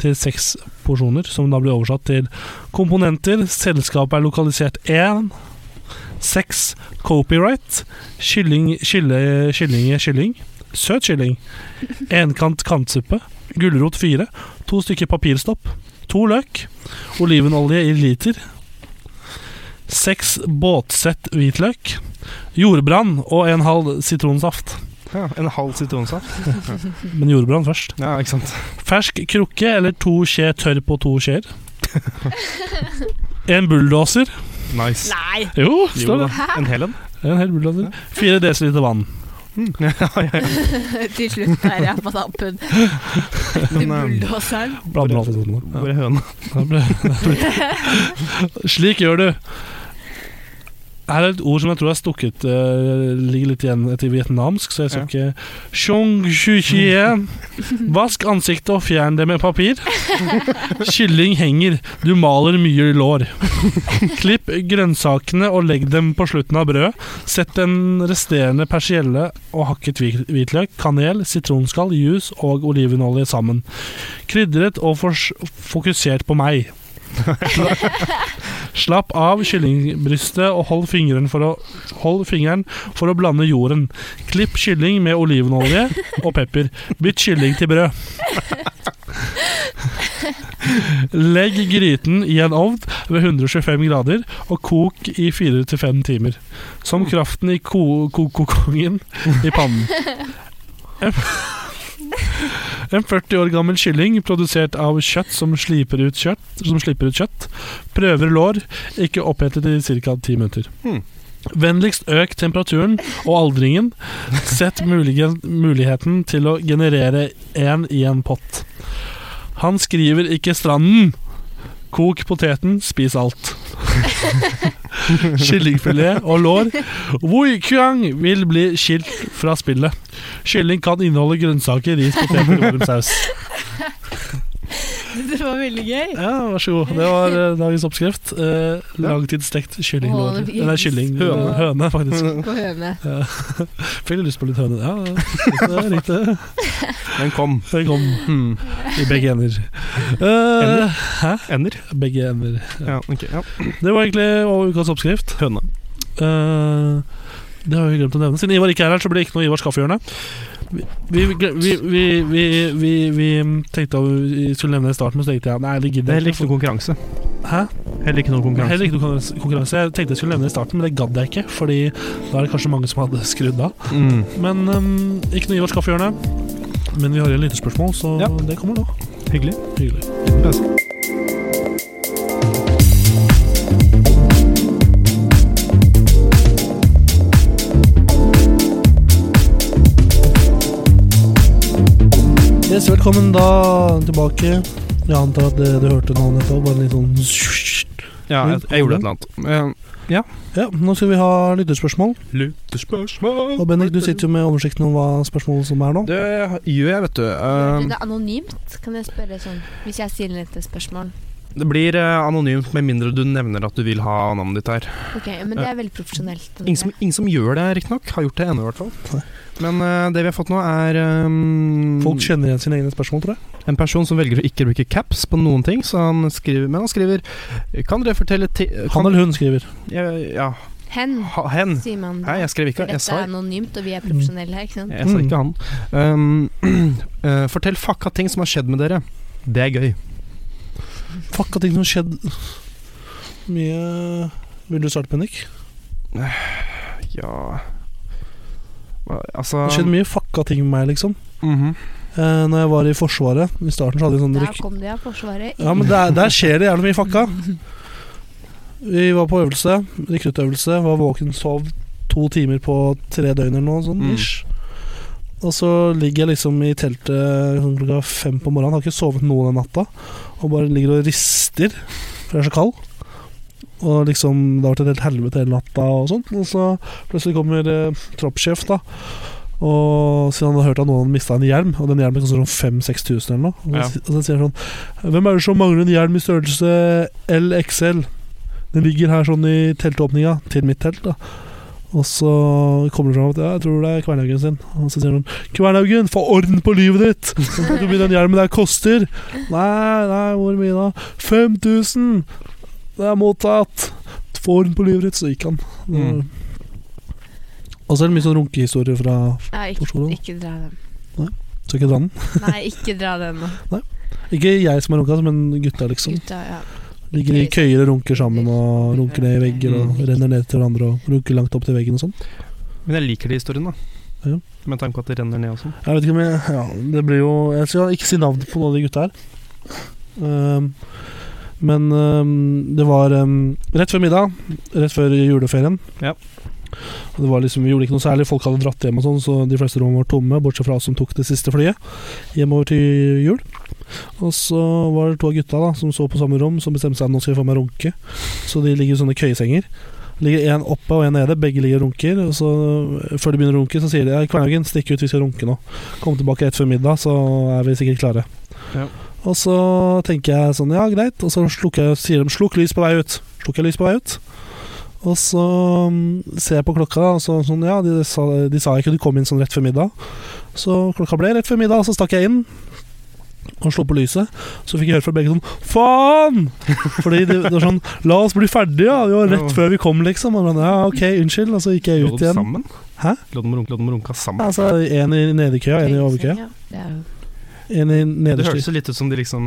B: til seks porsjoner, som da blir oversatt til komponenter. Selskapet er lokalisert én. Seks copyright. Kylling, kylle, kylling, kylling. Søt kylling. Enkant kantsuppe. Gulrot fire. To stykker papirstopp. To løk. Olivenolje i liter. Seks båtsett hvitløk. Jordbrann og en halv sitronsaft.
C: Ja, en halv sitronsaft.
B: Men jordbrann først.
C: Ja, ikke sant.
B: Fersk krukke eller to skje tørr på to skjeer. En bulldoser.
C: Nice.
D: Nei! <laughs>
B: Jo,
C: Jo
B: står
C: da.
B: det.
C: En hel en?
B: En hel bulldoser. Fire desiliter vann.
C: <laughs> Ja, ja, ja.
D: Til slutt er jeg på tampen.
B: <laughs>
D: Du
C: Men, eh,
D: bulldoseren.
B: Blander alt i sånn.
C: Hvor er <laughs> høna?
B: Da ble- da ble- Slik gjør du. Her er et ord som jeg tror er stukket eh, Ligger litt igjen etter vietnamsk, så jeg skal ikke Sjong shu chie. Vask ansiktet og fjern det med papir. Kylling henger, du maler mye lår. Klipp grønnsakene og legg dem på slutten av brødet. Sett den resterende persielle og hakket hvit- hvitløk, kanel, sitronskall, juice og olivenolje sammen. Krydret og fors fokusert på meg. Slapp av kyllingbrystet og hold fingeren for å, hold fingeren for å blande jorden. Klipp kylling med olivenolje og pepper. Bytt kylling til brød. Legg gryten i en ovn ved 125 grader og kok i 4-5 timer. Som kraften i ko-ko-kongen i pannen. En 40 år gammel kylling produsert av kjøtt som sliper ut kjøtt. Som slipper ut kjøtt. Prøver lår, ikke opphetet i ca. 10 minutter.
C: Hmm.
B: Vennligst øk temperaturen og aldringen. Sett muligen, muligheten til å generere én i en pott. Han skriver ikke 'stranden'. Kok poteten, spis alt. Kyllingfilet og lår. Wui Kuang vil bli skilt fra spillet.
C: <laughs>
B: Kylling kan inneholde grønnsaker, ris, poteter og varm saus.
D: <laughs> Det var veldig gøy.
B: Ja, vær så god. Det var eh, dagens oppskrift. Eh, langtidsstekt kyllinglår.
F: Å, det-
B: Nei, kylling. Høne, høne
C: <laughs>
B: faktisk.
F: På høne.
B: Fikk litt lyst på litt høne. Ja, riktig. riktig.
C: Den kom.
B: Den kom
C: Hmm.
B: i begge ender.
C: Ender?
B: Eh,
C: Ender?
B: begge ender.
C: Ja, ok. Ja.
B: Det var egentlig over ukas oppskrift.
C: Høne.
B: Eh, det har vi glemt å nevne. Siden Ivar ikke er her, så blir det ikke noe Ivars kaffehjørne. Vi, vi, vi, vi, vi, vi, vi tenkte at vi skulle nevne det i starten, men så tenkte jeg nei, det
C: Det
B: gidder
C: er
B: jeg
C: heller ikke noe konkurranse.
B: Hæ?
C: Heller ikke noe konkurranse.
B: Heller ikke noe konkurranse- konkurranse. Jeg tenkte jeg skulle nevne det i starten, men det gadd jeg ikke. Fordi da er det kanskje mange som hadde skrudd av.
C: Mm.
B: Men ehm, ikke noe Ivars kaffehjørne. Men vi har igjen lytterspørsmål, så
C: Ja.
B: det kommer nå.
C: Hyggelig.
B: Hyggelig. Yes, velkommen da tilbake. Jeg antar at det du hørte nå nettopp, var en litt sånn
C: Ja, jeg, jeg gjorde et eller annet.
B: Ja, nå skal vi ha lytterspørsmål.
C: Lyttespørsmål
B: Og Bendik, du sitter jo med oversikten om hva spørsmålet som er nå.
C: Det gjør jeg, vet du.
F: Gjør
C: Eh,
B: Um,
F: du det anonymt? Kan jeg spørre sånn Hvis jeg stiller et spørsmål.
C: det blir eh, anonymt med mindre du nevner at du vil ha navnet ditt her.
F: Ok, Men det er veldig profesjonelt.
C: Ingen som, ingen som gjør det, riktignok. Har gjort det ennå, i hvert fall. Men eh, det vi har fått nå, er eh,
B: Folk kjenner igjen sine egne spørsmål, tror jeg.
C: en person som velger å ikke bruke caps på noen ting, så han skriver, men han skriver Kan dere fortelle ti...
B: Han eller hun skriver.
C: Ja, ja
F: Hen,
C: ha, hen.
F: sier man.
C: Nei, jeg skrev ikke
F: For
C: han. Jeg
F: dette
C: sa,
F: er anonymt, og vi er profesjonelle her, ikke sant?
C: jeg sa
B: Mm.
C: ikke han. Um, <clears throat> eh, fortell fucka ting som har skjedd med dere. Det er gøy.
B: Fuck, av ting som har skjedd Mye Vil du starte, Bendik?
C: Ja Hva- Altså
B: Det har skjedd mye fucka ting med meg, liksom.
C: mhm.
B: Eh, når jeg var i Forsvaret, i starten så hadde vi sånn
F: Der
B: drikk...
F: kom det, ja. Forsvaret.
B: Ja, men der, der skjer det jævlig mye fucka. Vi var på øvelse, rekruttøvelse, var våken, sov to timer på tre døgn eller noe sånn
C: Mm.
B: ish. Og så ligger jeg liksom i teltet sånn klokka fem på morgenen, har ikke sovet noe den natta, og bare ligger og rister, for jeg er så kald. Og liksom, det har vært et helt helvete hele natta og sånt. Og så plutselig kommer eh, troppssjef, da. Og siden han hadde hørt at noen hadde mista en hjelm, og den hjelmen koster sånn 5000-6000 eller noe. Og,
C: Ja.
B: så, og så sier han sånn Hvem er det som mangler en hjelm i størrelse LXL? Den ligger her sånn i teltåpninga, til mitt telt, da. Og så kommer det fram at ja, jeg tror det er Kvernhaugen sin. Og så sier han sånn, Kvernhaugen, få orden på livet ditt! Hvor mye den hjelmen der koster? Nei, nei, hvor mye da? 5000! Det er mottatt! Få orden på livet ditt, så gikk han.
C: Mm.
B: Og så er det mye sånn runkehistorie fra
F: Ja, ikke,
B: Forsvaret.
F: ikke dra den.
B: Skal ikke dra den.
F: Nei, ikke dra den nå,
B: Ikke jeg som har runka, men gutta, liksom.
F: gutta. Ja.
B: Ligger i køyer og runker sammen og runker ned i vegger og
F: liksom. Mm.
B: renner ned til hverandre og runker langt opp til veggen og sånn.
C: Men jeg liker de historiene, da.
B: Ja.
C: Med tanke på at det renner ned og sånn.
B: Jeg vet ikke om jeg Ja, det blir jo Jeg skal ikke si navn på noen av de gutta her. Ehm, men ehm, det var ehm, rett før middag, rett før juleferien.
C: Ja.
B: Og det var liksom, vi gjorde ikke noe særlig, folk hadde dratt hjem, og sånn så de fleste rommene var tomme, bortsett fra oss som tok det siste flyet hjemover til jul. Og så var det to av gutta da som så på samme rom, som bestemte seg at nå skal vi få meg runke. Så de ligger i sånne køyesenger. Ligger én oppe og én nede, begge ligger og runker. Og så øh, Før de begynner å runke, så sier de «Ja, Kvernhaugen, stikk ut, vi skal runke nå. Kom tilbake rett før middag, så er vi sikkert klare.
C: Ja.
B: Og så tenker jeg sånn, ja greit, og så slukker jeg, sier de 'slukk lys på vei ut'. Slukker jeg lys på vei ut. Og så mm, ser jeg på klokka, og så sånn, ja, de sa, de sa ikke du kom inn sånn rett før middag. Så klokka ble rett før middag, og så stakk jeg inn. Og slo på lyset. Så fikk jeg høre fra begge sånn Faen! Fordi det, det var sånn La oss bli ferdige, ja! Det var rett før vi kom, liksom. Og sånn, ja, ok, unnskyld. Og så gikk jeg
C: Lå
B: ut
C: de
B: igjen.
C: sammen?
B: Hæ?
C: Lå de og runka, lå de og runka sammen?
B: Altså, en i nede i køa, en i overkøa.
F: Ja, det er jo-
B: En i
C: Det
B: nederste
C: hørtes jo litt ut som de liksom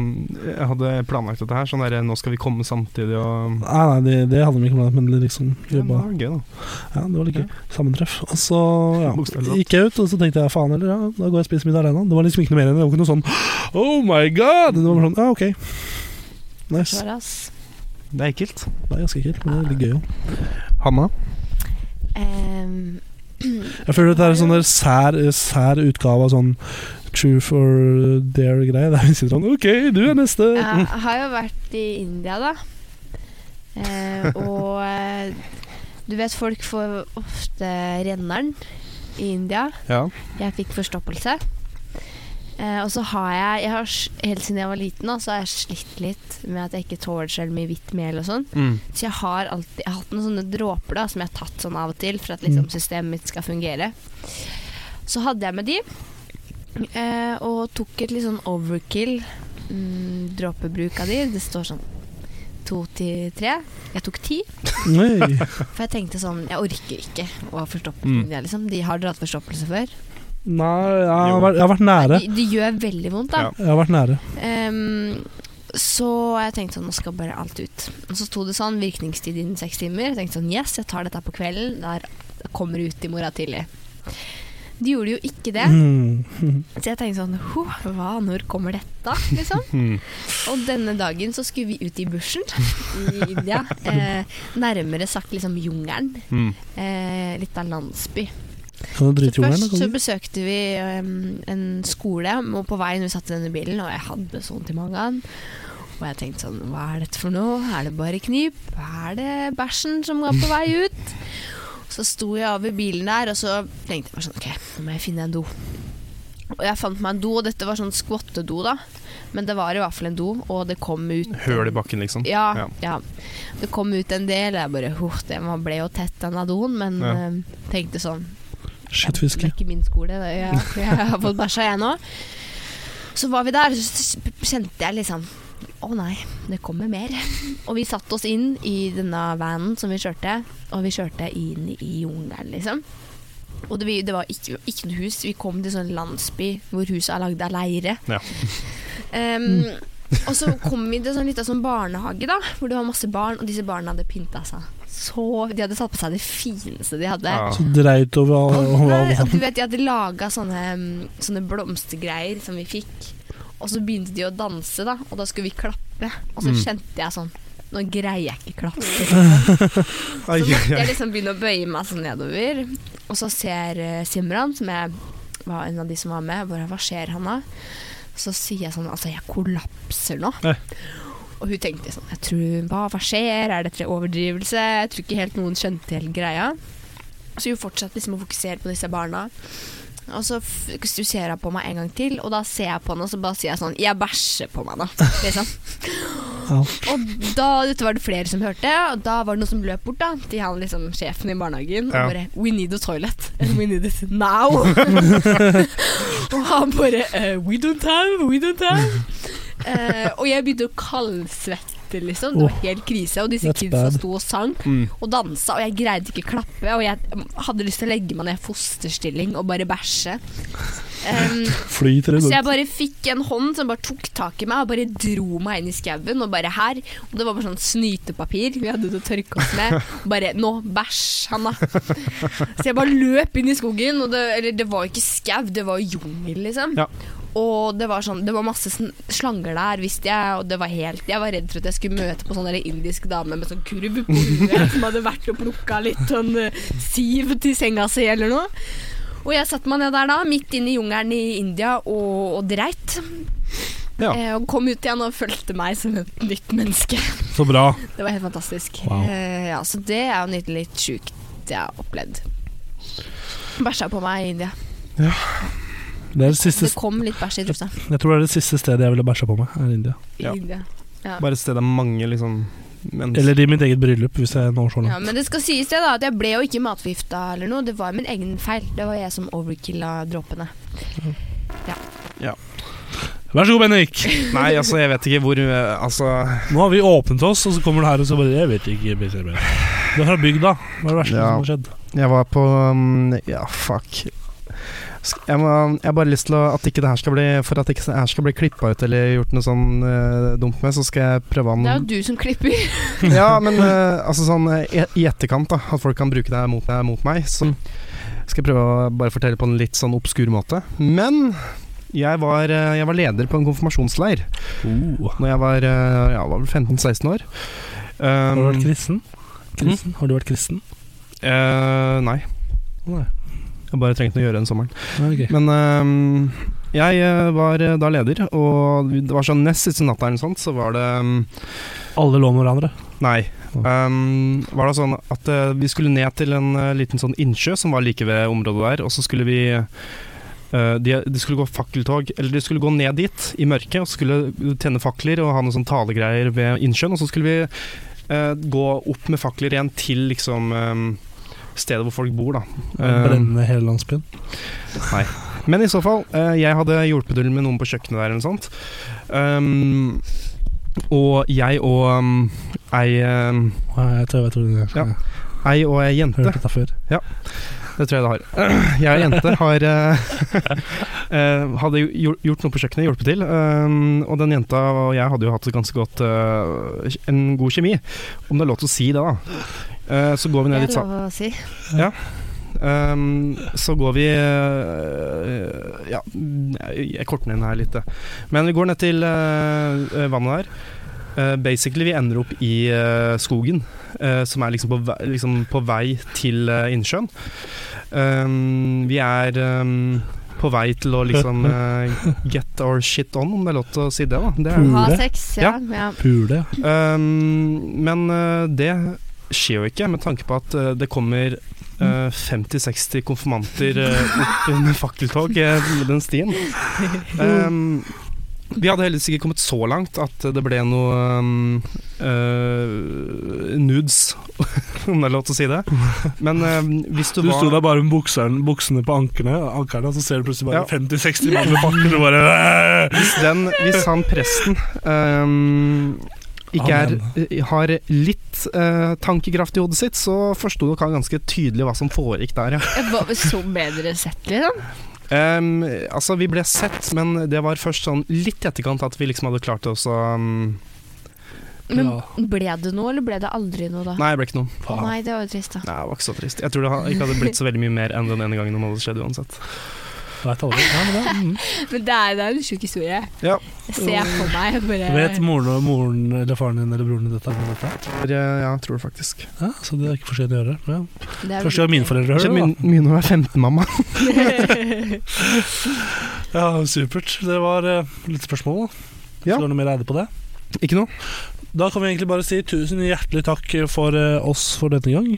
C: eh, hadde planlagt dette her. Sånn derre nå skal vi komme samtidig og
B: Ah, Nei, nei, det, det hadde de ikke planlagt, men det liksom
C: ja, det
B: jobba
C: var gøy, da.
B: Ja, det var litt gøy. Sammentreff. Og så ja,
C: Bokstavelig talt.
B: gikk jeg ut, og så tenkte jeg faen heller, ja, da går jeg og spiser middag alene. Det var liksom ikke noe mer enn det. Det var ikke noe sånn Oh my god! Det var bare sånn, ja, ok. Nice.
F: Forsvaret, ass.
C: Det er ekkelt.
B: Det er ganske ekkelt, men det er litt gøy òg.
C: Hanna?
F: Ehm,
B: Jeg føler at det er en sånn der sær, sær utgave av sånn True for dare-greie. Der vi sitter sånn OK, du er neste.
F: jeg har jo vært i India, da. Eh, og eh, du vet, folk får ofte renneren i India.
C: Ja.
F: Jeg fikk forstoppelse. Eh, og så har jeg, jeg har, s- Helt siden jeg var liten, da, så har jeg slitt litt med at jeg ikke tåler selv mye hvitt mel. og sånn
C: Mm.
F: Så jeg har alltid jeg har hatt noen sånne dråper da som jeg har tatt sånn av og til for at liksom, systemet mitt skal fungere. Så hadde jeg med de, eh, og tok et litt sånn overkill mm, dråpebruk av de. Det står sånn to til tre. Jeg tok ti.
B: Nei.
F: For jeg tenkte sånn Jeg orker ikke å ha forstoppelse.
C: Mm.
F: med det, Liksom. De har dere hatt forstoppelse før.
B: Nei, jeg har, vært, jeg har vært nære.
F: De, de gjør veldig vondt, da.
C: Ja.
B: Jeg har vært nære.
F: Ehm, så jeg tenkte sånn, nå skal bare alt ut. Og så sto det sånn, virkningstid innen seks timer. Jeg tenkte sånn, yes, jeg tar dette på kvelden. Der kommer det ut i morgen tidlig. De gjorde jo ikke det.
B: Mm.
F: Så jeg tenkte sånn, «Ho, hva, når kommer dette, liksom?
C: Mm.
F: Og denne dagen så skulle vi ut i bushen i India. Eh, nærmere sagt liksom jungelen.
C: Mm.
F: Eh, litt av landsby.
B: Kan du drite
F: Så
B: i ungene?
F: først så
B: kan du?
F: besøkte vi øhm, en skole, og på veien vi satt i denne bilen, og jeg hadde så vondt i magen. Og jeg tenkte sånn, hva er dette for noe? Er det bare knip? Er det bæsjen som var på vei ut? Så sto jeg over bilen der, og så tenkte jeg bare sånn, ok, nå må jeg finne en do. Og jeg fant meg en do, og dette var sånn skvottedo da. Men det var i hvert fall en do, og det kom ut...
C: Høl i bakken, liksom.
F: Ja,
C: Ja.
F: ja. Det kom ut en del, og jeg bare, «Huh, den var- ble jo tett den av doen, men
C: Ja.
F: øhm, tenkte sånn, det
B: Skittfiske.
F: er ikke min skole. Det. Jeg, jeg har fått bæsja, jeg nå. Så var vi der, så s- kjente jeg liksom Å nei, det kommer mer. Og vi satte oss inn i denne vanen som vi kjørte, og vi kjørte inn i jungelen, liksom. Og det, vi- det var ikke, ikke noe hus. Vi kom til sånn landsby hvor huset er lagd av leire.
C: Ja.
F: Em, og så kom vi til sånn liten sånn barnehage, da, hvor det var masse barn, og disse barna hadde pynta seg. Så, de hadde satt på seg det fineste de hadde.
C: Ja.
B: Så dreit over all-
F: Og
B: over alle
F: nei, altså,
B: sammen.
F: du vet, De hadde laga sånne, mm, sånne blomstergreier som vi fikk. Og så begynte de å danse, da, og da skulle vi klappe. Og så
C: Mm.
F: kjente jeg sånn Nå greier jeg ikke klappe.
C: Ai,
F: Så måtte
C: ai,
F: jeg liksom begynne å bøye meg sånn nedover. Og så ser eh, Simran, som jeg var en av de som var med, bare hva skjer han da? Så sier jeg sånn altså jeg kollapser nå.
C: Nei.
F: Og hun tenkte sånn jeg tror, hva, hva skjer, er dette overdrivelse? Jeg tror ikke helt noen skjønte hele greia. Så hun fortsatte liksom å fokusere på disse barna. Og så fokuserer hun på meg en gang til, og da ser jeg på henne og så bare sier jeg sånn Jeg bæsjer på meg, da. Liksom.
B: Ja.
F: Og da, dette var det flere som hørte, og da var det noen som løp bort da, til han liksom sjefen i barnehagen
C: Ja.
F: og bare We need a toilet. And we need it now. <laughs> og han bare eh, We don't have, we don't have. Eh, og jeg begynte å kaldsvette, liksom. Det var helt krise. Og disse
B: That's
F: kidsa
B: bad.
F: sto og sang
C: Mm.
F: og dansa, og jeg greide ikke å klappe. Og jeg mm, hadde lyst til å legge meg ned i fosterstilling og bare bæsje. Um,
B: Flyter i
F: så
B: det.
F: jeg bare fikk en hånd som bare tok tak i meg og bare dro meg inn i skauen. Og bare her. Og det var bare sånn snytepapir vi hadde til å tørke oss med. Og Bare nå, bæsj, Hanna. Så jeg bare løp inn i skogen, og det, eller det var jo ikke skau, det var jo jungel, liksom.
C: Ja.
F: Og det var, sånn, det var masse sn- slanger der, visste jeg, og det var helt Jeg var redd for at jeg skulle møte på sånn der indisk dame med sånn kurv på huet <laughs> som hadde vært og plukka litt sånn eh, siv til senga si eller noe. Og jeg satte meg ned der da, midt inne i jungelen i India, og, og dreit.
C: Ja.
F: Eh, og kom ut igjen og fulgte meg som et nytt menneske. <laughs>
B: Så bra.
F: Det var helt fantastisk.
B: Wow.
F: Eh, ja, så det er jo nydelig litt sjukt jeg har opplevd. Bæsja på meg i India.
B: Det er det siste,
F: Det kom litt bæsj i trusa.
B: jeg tror det er det siste stedet jeg ville bæsja på meg, er India.
F: I
C: Ja.
F: India.
C: Bare et sted der mange liksom mennesker
B: Eller i mitt eget bryllup, hvis jeg når så
F: Ja,
B: langt.
F: men det skal sies det da at jeg ble jo ikke matforgifta eller noe. Det var min egen feil. Det var jeg som overkilla dråpene.
B: Vær så god, Bendik.
C: Nei, altså, jeg vet ikke hvor eh, Altså
B: Nå har vi åpnet oss, og så kommer du her og så bare Jeg vet ikke. jeg vet ikke». Du er fra bygda. Hva er det verste
C: Ja.
B: som har skjedd?
C: Jeg var på um, Ja, fuck. Sk- Jeg, må, jeg har bare lyst til å, at ikke det her skal bli For at ikke det her skal bli klippa ut eller gjort noe sånn eh, dumt med, så skal jeg prøve
F: Det er
C: han
F: jo du som klipper.
B: <laughs>
C: Ja, men eh, altså sånn eh, i i etterkant, da. At folk kan bruke det her mot, meg- mot meg. Så
B: Mm.
C: skal jeg prøve å bare fortelle på en litt sånn obskur måte. Men jeg var, eh, jeg var leder på en konfirmasjonsleir
B: Oh.
C: Når jeg var, eh, ja, var vel 15-16 år.
B: Har du
C: Um,
B: vært kristen? kristen?
C: Hm?
B: Har du vært kristen?
C: eh, nei.
B: Nei.
C: Jeg bare trengte noe å gjøre den sommeren.
B: Nei, ok.
C: Men ehm, jeg eh, var eh, da leder, og det var sånn nest siste natta eller noe sånt, så var det ehm,
B: Alle lå med hverandre.
C: Nei. Ehm, var det sånn at eh, vi skulle ned til en eh, liten sånn innsjø som var like ved området der, og så skulle vi eh, de, de skulle gå fakkeltog, eller de skulle gå ned dit i mørket og skulle tenne fakler og ha noen sånn talegreier ved innsjøen. Og så skulle vi eh, gå opp med fakler igjen til liksom eh, stedet hvor folk bor, da. Eh,
B: Brenne hele landsbyen.
C: men i så fall, eh, jeg hadde hjulpet til med noen på kjøkkenet der eller noe sånt. Um, og jeg og um, ei, um,
B: Nei, Jeg tror jeg vet hvor det er.
C: Ja. ei og ei jente
B: Hørt dette før.
C: Det tror jeg det har. <clears throat> Jeg og jente har eh, <laughs> eh, hadde jo gjort- gjort noe på kjøkkenet, hjulpet til. eh, og den jenta og jeg hadde jo hatt et ganske godt eh, en god kjemi, om det er lov til å si det, da. Eh, så går vi ned
F: Det
C: litt
F: er
C: sammen
F: lov å si.
C: Ehm, så går vi eh, Ja, jeg korter ned her litt. eh. Men vi går ned til eh, vannet der. Eh, basically, vi ender opp i eh, skogen, eh, som er liksom på vei, liksom på vei til eh, innsjøen. Ehm, vi er ehm, på vei til å liksom eh, get our shit on, om det er lov til å si det, da. Det er,
F: Ha
B: Pule.
F: sex, ja. ja.
B: Pule, ja.
C: Ehm, men eh, det skjer jo ikke, med tanke på at eh, det kommer eh, 50-60 konfirmanter eh, opp med fakkeltog eh, med den stien. Ehm, vi hadde heldigvis ikke kommet så langt at det ble noe ehm, eh, nudes, <laughs> om det er lov til å si det. Men ehm, hvis du,
B: Du
C: var
B: sto der bare med bukserne, buksene på ankene, ankerne, og så ser du plutselig bare
C: Ja.
B: 50-60 mann med pakker og bare
C: hvis, den, hvis han presten ehm, ikke er, har litt eh, tankekraft i hodet sitt, så forsto nok han ganske tydelig hva som foregikk der, ja.
F: Jeg var så bedre sett, liksom.
C: Ehm, altså, vi ble sett, men det var først sånn litt i etterkant at vi liksom hadde klart oss å um,
F: Men
B: Ja.
F: ble det noe, eller ble det aldri noe, da?
C: Nei, det ble ikke noe.
F: Å Nei, det var jo trist, da.
C: Nei, det var ikke så trist. Jeg tror det ha- ikke hadde blitt så veldig mye mer enn den ene gangen om det hadde skjedd uansett.
B: Vet aldri. Ja, men det, mm.
D: <laughs> Men det er, det er en sjuk historie.
C: Ja.
D: Jeg ser for meg bare
B: Vet moren, og moren eller faren din eller broren din dette? om dette?
C: For, eh, Ja, jeg tror det faktisk.
B: Ja, så det er ikke for sent å gjøre. Ja.
F: Det er
B: Første gang mine foreldre
C: Ikke
B: hører det.
C: mye mye når du er 15, mamma.
B: da. Ja, supert. Det var eh, litt spørsmål, da. Så
C: Ja.
B: var det noe mer eide på det.
C: Ikke noe.
B: Da kan vi egentlig bare si tusen hjertelig takk for eh, oss for denne gang.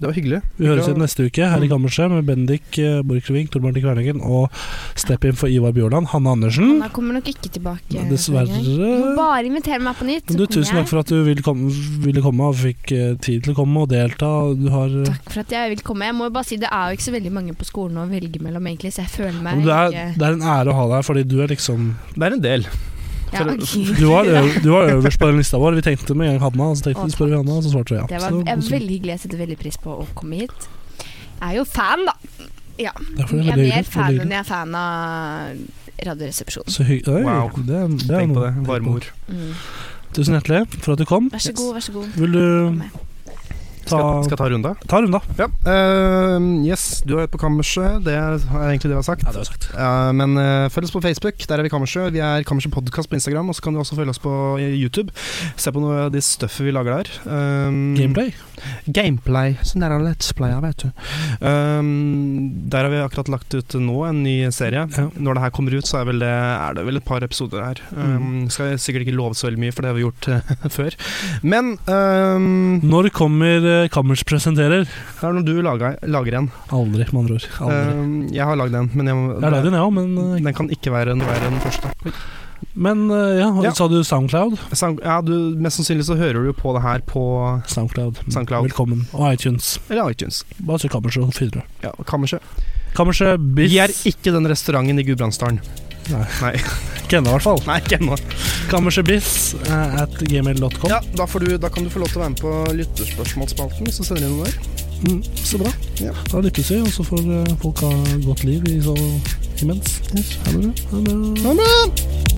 C: Det var hyggelig.
B: Vi høres igjen neste uke her i kammerset med Bendik eh, Borchgrevink, Tor Martin Kverneggen og Step In for Ivar Bjørland, Hanne Andersen.
F: Da kommer nok ikke tilbake.
B: Dessverre.
F: Du må bare invitere meg på nytt. så
B: Men du,
F: kommer
B: tusen takk
F: jeg.
B: for at du ville komme, ville komme og fikk eh, tid til å komme og delta. Du har eh,
F: Takk for at jeg vil komme. Jeg må jo bare si Det er jo ikke så veldig mange på skolen å velge mellom, egentlig, så jeg føler
B: men det,
F: meg ikke
B: er, det er en ære å ha deg, fordi du er liksom
C: Det er en del.
F: ja,
C: for-
F: ok.
B: <laughs> Du var, ø du var øverst på den lista vår. Vi tenkte med en gang Hanna, og så tenkte
F: Å,
B: vi spør vi Hanna, og så svarte vi ja.
F: <laughs> Det
B: Så det
F: var
B: var
F: er
B: koselig.
F: veldig hyggelig. Jeg setter veldig pris på å komme hit. Jeg er jo fan, da.
B: Derfor er
F: Jeg
B: det
F: er
B: veldig
F: mer
B: hyggelig, veldig
F: fan enn
B: hyggelig.
F: jeg er fan av Radioresepsjonen.
B: Så hygg... Oi,
C: Wow.
B: det, er- det er
C: Tenk på
B: noe.
C: det. Varme ord.
F: Mm.
B: Tusen hjertelig for at du kom.
F: Vær så god, vær så god.
B: Vil du ta,
C: Skal, skal ta runda?
B: ta runden, da?
C: Ja. ehm, yes, du er på kammerset. Det er egentlig det vi har sagt.
B: Ja, det har jeg sagt.
C: Eh, men eh, følg oss på Facebook, der er vi Kammerset. Vi er Kammerset Podcast på Instagram, og så kan du også følge oss på eh, YouTube. Se på noe av det stuffet vi lager der. Um,
B: Mm. Gameplay.
C: Gameplay. Sånn der er Let's Play, vet du. Um, der har vi akkurat lagt ut nå en ny serie.
B: Ja.
C: Når det her kommer ut, så er, vel det, er det vel et par episoder her. Um,
B: Mm.
C: Skal jeg sikkert ikke love så veldig mye, for det har vi gjort <laughs> eh, før. Men um,
B: Når kommer eh, Kammers presenterer?
C: det er når du lager, lager en.
B: Aldri, med andre ord. Aldri.
C: Um, jeg har lagd en, men jeg, må-
B: Jeg har lagd den, jeg òg, men,
C: den kan ikke være den, være den første.
B: eh, men eh, ja,
C: Ja.
B: Sa du Soundcloud?
C: Sound, ja, du, mest sannsynlig så hører du jo på det her på
B: Soundcloud.
C: Soundcloud.
B: Velkommen. Og iTunes.
C: Eller iTunes.
B: Bare søk Kammerset, så finner du det.
C: Ja, Kammerset.
B: Kammerset Biff
C: Vi er ikke den restauranten i Gudbrandsdalen.
B: Nei.
C: Nei.
B: ikke ennå, i hvert fall.
C: Nei, ikke ennå.
B: Kammersetbiff eh, at gmail.com.
C: Ja, da, får du, da kan du få lov til å være med på lytterspørsmålsspalten, så sender du noe der.
B: Mm, så bra.
C: Ja.
B: Da lykkes vi, og så får eh, folk ha godt liv i så, imens. Ha det bra. Ha det.
C: Ha det!